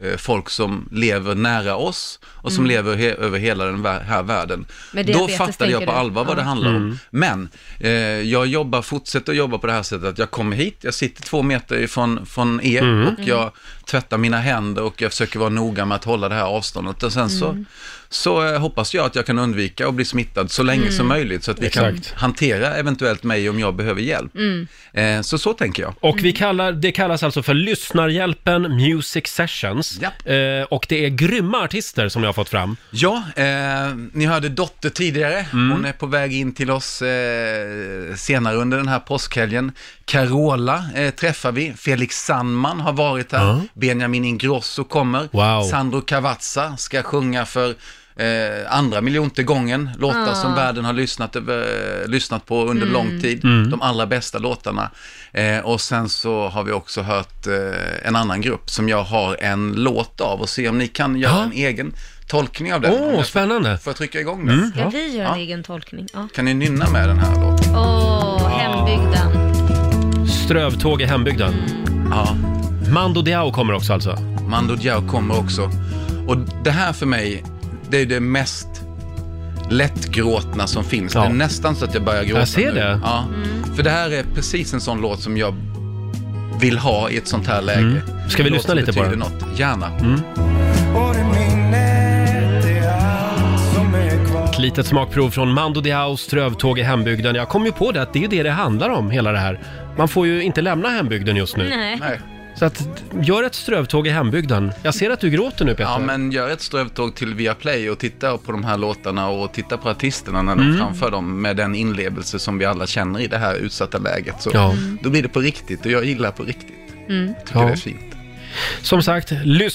Speaker 8: Mm.
Speaker 11: eh, folk som lever nära oss och som
Speaker 8: Mm.
Speaker 11: lever he- över hela den vä- här världen.
Speaker 8: Med
Speaker 11: Då
Speaker 8: diabetes,
Speaker 11: fattade jag
Speaker 8: tänker
Speaker 11: på
Speaker 8: du?
Speaker 11: allvar vad
Speaker 8: Ja.
Speaker 11: det handlar om.
Speaker 8: Mm.
Speaker 11: Men eh, jag jobbar, fortsätter att jobba på det här sättet att jag kommer hit, jag sitter två meter ifrån från er
Speaker 8: Mm.
Speaker 11: och jag tvättar mina händer och jag försöker vara noga med att hålla det här avståndet. Och sen så,
Speaker 8: Mm.
Speaker 11: så eh, hoppas jag att jag kan undvika att bli smittad så länge
Speaker 8: Mm.
Speaker 11: som möjligt så att vi
Speaker 1: Exakt.
Speaker 11: kan hantera eventuellt mig om jag behöver hjälp.
Speaker 2: Mm.
Speaker 11: Eh, så så tänker jag.
Speaker 1: Och vi kallar, det kallas alltså för Lyssnarhjälpen Music Sessions. Eh, och det är grymma artister som jag har fått fram.
Speaker 11: Ja, eh, ni hörde Dotter tidigare. Hon är på väg in till oss eh, senare under den här påskhelgen. Carola eh, träffar vi. Felix Sandman har varit här. Benjamin Ingrosso kommer.
Speaker 1: Wow.
Speaker 11: Sandro Cavazza ska sjunga för eh, andra miljonte gången. Låtar
Speaker 8: Ah.
Speaker 11: som världen har lyssnat, över, lyssnat på under
Speaker 8: Mm.
Speaker 11: lång tid.
Speaker 8: Mm.
Speaker 11: De allra bästa låtarna. Eh, och sen så har vi också hört eh, en annan grupp som jag har en låt av och se om ni kan göra en egen tolkning av den.
Speaker 1: Åh,
Speaker 11: Om jag-
Speaker 1: spännande.
Speaker 11: Får jag trycka igång den?
Speaker 2: Ska vi göra en egen tolkning? Ja.
Speaker 11: Kan ni nynna med den här låten?
Speaker 2: Åh, hembygden.
Speaker 1: Strövtåg i hembygden.
Speaker 11: Ja.
Speaker 1: Mando Diao kommer också alltså?
Speaker 11: Mando Diao kommer också. Och det här för mig, det är det mest lättgråtna som finns.
Speaker 1: Ja.
Speaker 11: Det är nästan så att jag börjar gråta
Speaker 1: Jag ser
Speaker 11: nu.
Speaker 1: det.
Speaker 11: Ja. För det här är precis en sån låt som jag vill ha i ett sånt här läge.
Speaker 1: Mm. Ska vi
Speaker 11: En låt
Speaker 1: lyssna
Speaker 11: som
Speaker 1: lite Mm. på
Speaker 11: betyder
Speaker 1: den?
Speaker 11: Något. Gärna.
Speaker 8: Och det minnet är allt som är kvar
Speaker 1: Ett litet smakprov från Mando Diaos Strövtåg i hembygden. Jag kom ju på det att det är ju det det handlar om, hela det här. Man får ju inte lämna hembygden just nu.
Speaker 2: Nej.
Speaker 11: Nej.
Speaker 1: Så att, gör ett strövtåg i hembygden. Jag ser att du gråter nu Peter.
Speaker 11: Ja, men gör ett strövtåg till Viaplay och titta på de här låtarna och titta på artisterna när de
Speaker 1: Mm.
Speaker 11: framför dem med den inlevelse som vi alla känner i det här utsatta läget. Så
Speaker 1: Ja.
Speaker 11: Då blir det på riktigt och jag gillar på riktigt.
Speaker 2: Mm.
Speaker 11: Jag tycker det är fint.
Speaker 1: Som sagt,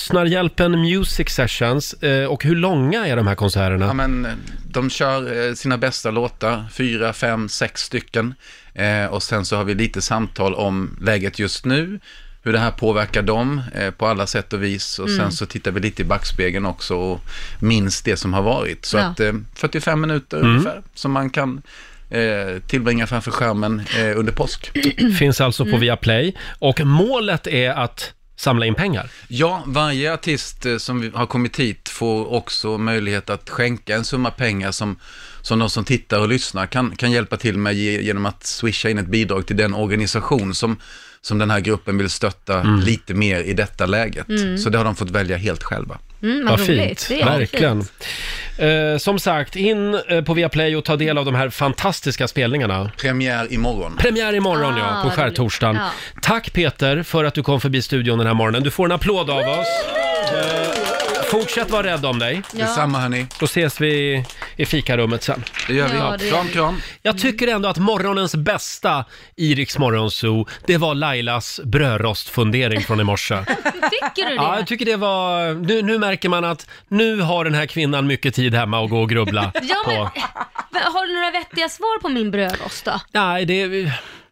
Speaker 1: Lyssnarhjälpen Music Sessions. Eh, och hur långa är de här konserterna?
Speaker 11: Ja, men, eh, de kör eh, sina bästa låtar, fyra, fem, sex stycken. Eh, och sen så har vi lite samtal om läget just nu, hur det här påverkar dem eh, på alla sätt och vis. Och
Speaker 8: Mm.
Speaker 11: sen så tittar vi lite i backspegeln också och minns det som har varit. Så
Speaker 8: Ja.
Speaker 11: att eh, 45 minuter
Speaker 1: Mm.
Speaker 11: ungefär som man kan eh, tillbringa framför skärmen eh, under påsk.
Speaker 1: Finns alltså på
Speaker 11: Mm.
Speaker 1: Viaplay. Och målet är att samla in pengar.
Speaker 11: Ja, varje artist eh, som vi- har kommit hit får också möjlighet att skänka en summa pengar som, som de som tittar och lyssnar kan, kan hjälpa till med ge- genom att swisha in ett bidrag till den organisation som, som den här gruppen vill stötta
Speaker 1: Mm.
Speaker 11: lite mer i detta läget.
Speaker 1: Mm.
Speaker 11: Så det har de fått välja helt själva.
Speaker 2: Mm, vad
Speaker 1: Vad
Speaker 2: roligt.
Speaker 1: fint,
Speaker 2: Det är
Speaker 1: verkligen.
Speaker 2: fint.
Speaker 1: Eh, som sagt, in eh, på Viaplay och ta del av de här fantastiska spelningarna.
Speaker 11: Premiär imorgon.
Speaker 1: Premiär imorgon,
Speaker 8: Ah,
Speaker 1: ja,
Speaker 8: vad
Speaker 1: på
Speaker 8: roligt.
Speaker 1: skärtorsdagen.
Speaker 8: Ja.
Speaker 1: Tack Peter för att du kom förbi studion den här morgonen. Du får en applåd av oss. Eh, fortsätt vara rädd om dig.
Speaker 8: Ja. Detsamma,
Speaker 11: hörni.
Speaker 1: Då ses vi i fikarummet sen.
Speaker 11: Det
Speaker 8: gör vi. Ja, det gör vi. Kram, kram.
Speaker 1: Jag tycker ändå att morgonens bästa i Rix Morgonzoo, det var Lailas brödrostfundering från i morse.
Speaker 2: Tycker du det?
Speaker 1: Ja, jag tycker det var... Nu, nu märker man att nu har den här kvinnan mycket tid hemma att gå och grubbla
Speaker 2: Ja, men-
Speaker 1: på.
Speaker 2: Va- Har du några vettiga svar på min brödrost då?
Speaker 1: Nej, det...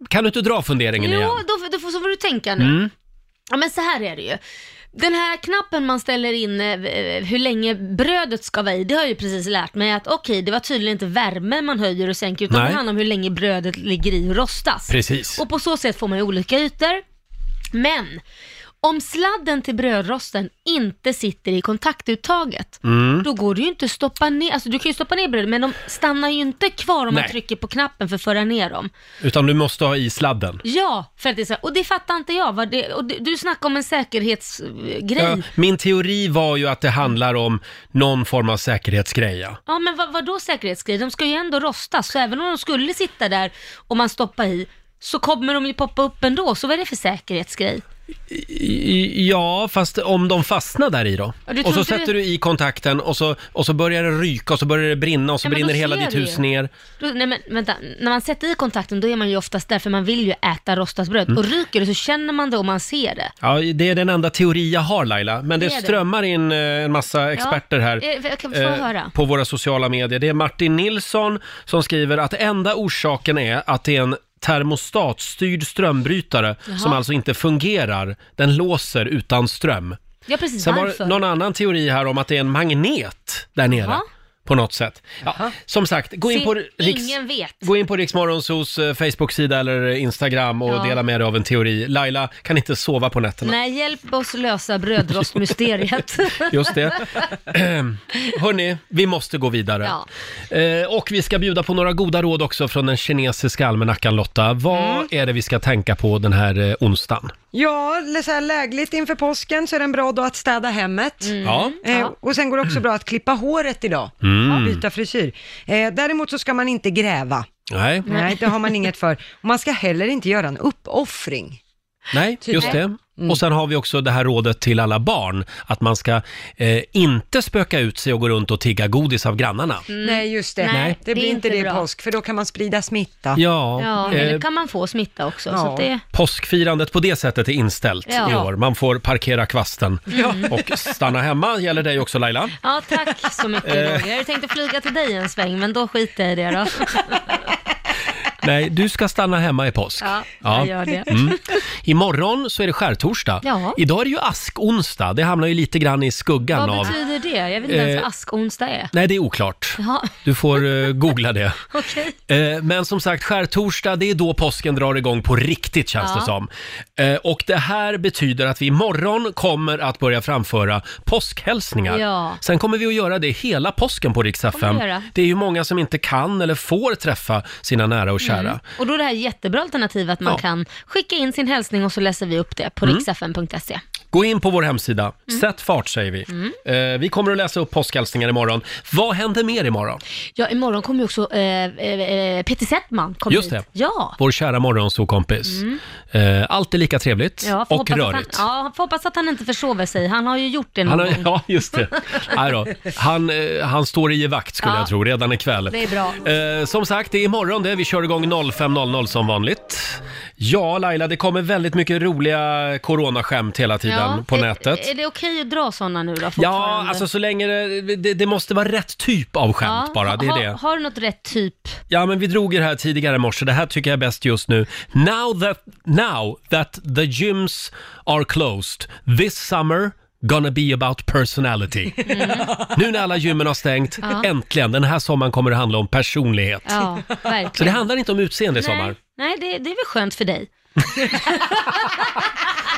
Speaker 1: Kan du inte dra funderingen igen?
Speaker 2: Jo, då, då får, så får du tänka nu.
Speaker 1: Mm.
Speaker 2: Ja, men så här är det ju. Den här knappen man ställer in eh, hur länge brödet ska vara i, det har jag ju precis lärt mig att okej, det var tydligen inte värme man höjer och sänker, utan
Speaker 1: Nej.
Speaker 2: det handlar om hur länge brödet ligger i och rostas.
Speaker 1: Precis.
Speaker 2: Och på så sätt får man ju olika ytor. Men om sladden till brödrosten inte sitter i kontaktuttaget,
Speaker 8: Mm.
Speaker 2: då går det ju inte att stoppa ner, alltså du kan ju stoppa ner brödet, men de stannar ju inte kvar om
Speaker 1: Nej.
Speaker 2: man trycker på knappen för att föra ner dem.
Speaker 1: Utan du måste ha i sladden.
Speaker 2: Ja, för att det är så här, och det fattar inte jag. Vad det, och du, du snackar om en säkerhetsgrej.
Speaker 1: Ja,
Speaker 2: Ja.
Speaker 1: min teori var ju att det handlar om någon form av säkerhetsgrej. Ja.
Speaker 2: men vad, vad då säkerhetsgrej? De ska ju ändå rostas, så även om de skulle sitta där och man stoppar i, så kommer de ju poppa upp ändå, så vad är det för säkerhetsgrej?
Speaker 1: I- Ja, fast om de fastnar där i då?
Speaker 2: Ja, du tror
Speaker 1: och så
Speaker 2: inte det-
Speaker 1: sätter du i kontakten och så, och så börjar det ryka och så börjar det brinna och så
Speaker 2: Ja, men då
Speaker 1: brinner hela
Speaker 2: ser
Speaker 1: ditt
Speaker 2: du
Speaker 1: hus
Speaker 2: ju.
Speaker 1: ner.
Speaker 2: Då, nej men vänta, när man sätter i kontakten då är man ju oftast där, för man vill ju äta rostat bröd.
Speaker 1: Mm.
Speaker 2: Och ryker det så känner man det och man ser det.
Speaker 1: Ja, det är den enda teori jag har Laila, men det,
Speaker 2: Det är det.
Speaker 1: strömmar in eh, en massa experter här.
Speaker 2: eh, jag kan få höra.
Speaker 1: På våra sociala medier. Det är Martin Nilsson som skriver att enda orsaken är att det är en termostatstyrd strömbrytare
Speaker 2: Jaha.
Speaker 1: som alltså inte fungerar. Den låser utan ström.
Speaker 2: Ja precis,
Speaker 1: Sen var
Speaker 2: varför?
Speaker 1: det någon annan teori här om att det är en magnet där nere.
Speaker 2: Jaha.
Speaker 1: På något sätt. Ja, som sagt, gå in på
Speaker 2: Se,
Speaker 1: Riks...
Speaker 2: Ingen vet.
Speaker 1: Gå in på Riksmorgonsos eh, Facebook-sida eller Instagram och
Speaker 2: Ja.
Speaker 1: dela med dig av en teori. Laila kan inte sova på nätterna.
Speaker 2: Nej, hjälp oss lösa brödrostmysteriet.
Speaker 1: Just det. Hörni, vi måste gå vidare. Eh, och vi ska bjuda på några goda råd också från den kinesiska almanackan Lotta. Vad
Speaker 2: Mm.
Speaker 1: är det vi ska tänka på den här eh, onsdagen?
Speaker 3: Ja, eller så här lägligt inför påsken så är det en bra dag att städa hemmet.
Speaker 1: Mm.
Speaker 2: Mm.
Speaker 1: Ja.
Speaker 3: Eh, och sen går det också bra att klippa håret idag,
Speaker 1: Mm.
Speaker 3: Ja, byta frisyr. Eh, däremot så ska man inte gräva.
Speaker 1: Nej.
Speaker 3: Nej, det har man inget för. Och man ska heller inte göra en uppoffring.
Speaker 1: Nej,
Speaker 2: Typ.
Speaker 1: just det.
Speaker 2: Mm.
Speaker 1: Och sen har vi också det här rådet till alla barn, att man ska eh, inte spöka ut sig och gå runt och tigga godis av grannarna.
Speaker 2: Mm.
Speaker 3: Nej, just det.
Speaker 1: Nej,
Speaker 3: Det blir
Speaker 2: det är
Speaker 3: inte det i
Speaker 2: inte bra.
Speaker 3: påsk, för då kan man sprida smitta.
Speaker 1: Ja, eh,
Speaker 2: Ja, eller kan man få smitta också. Så att det...
Speaker 1: Påskfirandet på det sättet är inställt
Speaker 2: Ja.
Speaker 1: i år. Man får parkera kvasten
Speaker 2: Mm.
Speaker 1: och stanna hemma. Gäller dig också Laila.
Speaker 2: Ja, tack så mycket
Speaker 1: Eh.
Speaker 2: Roger. Jag tänkte flyga till dig en sväng, men då skiter jag i det då.
Speaker 1: Nej, du ska stanna hemma i påsk.
Speaker 2: Ja, jag gör det.
Speaker 1: Mm. Imorgon så är det skärtorsdag.
Speaker 2: Ja.
Speaker 1: Idag är det ju askonsdag. Det hamnar ju lite grann i skuggan
Speaker 2: Vad
Speaker 1: av...
Speaker 2: betyder det? Jag vet inte ens
Speaker 1: Eh.
Speaker 2: vad askonsdag är.
Speaker 1: Nej, det är oklart.
Speaker 2: Jaha,
Speaker 1: Du får eh, googla det.
Speaker 2: okej.
Speaker 1: Eh, Men som sagt, skärtorsdag, det är då påsken drar igång på riktigt känns
Speaker 2: Ja.
Speaker 1: det som. Eh, Och det här betyder att vi imorgon kommer att börja framföra påskhälsningar.
Speaker 2: Ja.
Speaker 1: Sen kommer vi att göra det hela påsken på Rix FM.
Speaker 2: vi göra.
Speaker 1: Det är ju många som inte kan eller får träffa sina nära och
Speaker 2: Mm.
Speaker 1: kära.
Speaker 2: Och då är det här jättebra alternativ att man
Speaker 1: Ja.
Speaker 2: kan skicka in sin hälsning och så läser vi upp det på
Speaker 1: Mm.
Speaker 2: riksfn.se.
Speaker 1: Gå in på vår hemsida.
Speaker 2: Mm.
Speaker 1: Sätt fart säger vi. Eh, Vi kommer att läsa upp påskhälsningar imorgon. Vad händer mer imorgon?
Speaker 2: Ja, imorgon kommer ju också eh, eh, eh, Peter Settman kom
Speaker 1: Just
Speaker 2: hit.
Speaker 1: det.
Speaker 2: Ja.
Speaker 1: Vår kära morgonsokompis.
Speaker 2: Mm.
Speaker 1: Eh, Alltid lika trevligt
Speaker 2: Ja, får
Speaker 1: och
Speaker 2: hoppas att
Speaker 1: rörigt.
Speaker 2: Han, ja, får hoppas att han inte försover sig. Han har ju gjort det någon
Speaker 1: Han
Speaker 2: gång.
Speaker 1: har, ja, just det. Nej då. Han, eh, han står i vakt skulle
Speaker 2: Ja.
Speaker 1: jag tro, redan ikväll.
Speaker 2: Det är bra.
Speaker 1: Eh, som sagt, det är imorgon det. Vi kör igång 05.00 som vanligt. Ja, Laila, det kommer väldigt mycket roliga coronaskämt hela tiden på
Speaker 2: är,
Speaker 1: nätet.
Speaker 2: Är det okej att dra sådana nu då?
Speaker 1: ja,
Speaker 2: fortfarande?
Speaker 1: alltså så länge det, det, det måste vara rätt typ av skämt
Speaker 2: Ja,
Speaker 1: bara.
Speaker 2: ha-
Speaker 1: Det är
Speaker 2: ha-
Speaker 1: det.
Speaker 2: Har du något rätt typ?
Speaker 1: Ja, men vi drog ju det här tidigare i morse. Det här tycker jag är bäst just nu. Now that, now that the gyms are closed this summer gonna be about personality. Nu när alla gymmen har stängt,
Speaker 2: Ja.
Speaker 1: äntligen, den här sommaren kommer det handla om personlighet.
Speaker 2: Ja, verkligen.
Speaker 1: Så det handlar inte om utseende i
Speaker 2: Nej,
Speaker 1: sommar.
Speaker 2: Nej, det, det är väl skönt för dig.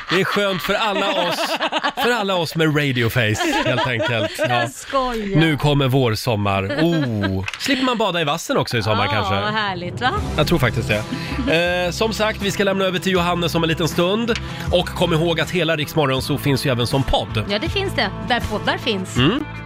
Speaker 1: Det är skönt för alla oss, för alla oss med radioface, helt enkelt. Ja.
Speaker 2: Jag skojar.
Speaker 1: Nu kommer vår sommar. Oh. Slipper man bada i vassen också i sommar
Speaker 2: ja,
Speaker 1: kanske?
Speaker 2: vad härligt va?
Speaker 1: Jag tror faktiskt det. Eh, som sagt, vi ska lämna över till Johannes om en liten stund. Och kom ihåg att hela Riksmorgon så finns ju även som podd.
Speaker 2: Ja, det finns det. Där poddar finns.
Speaker 1: Mm.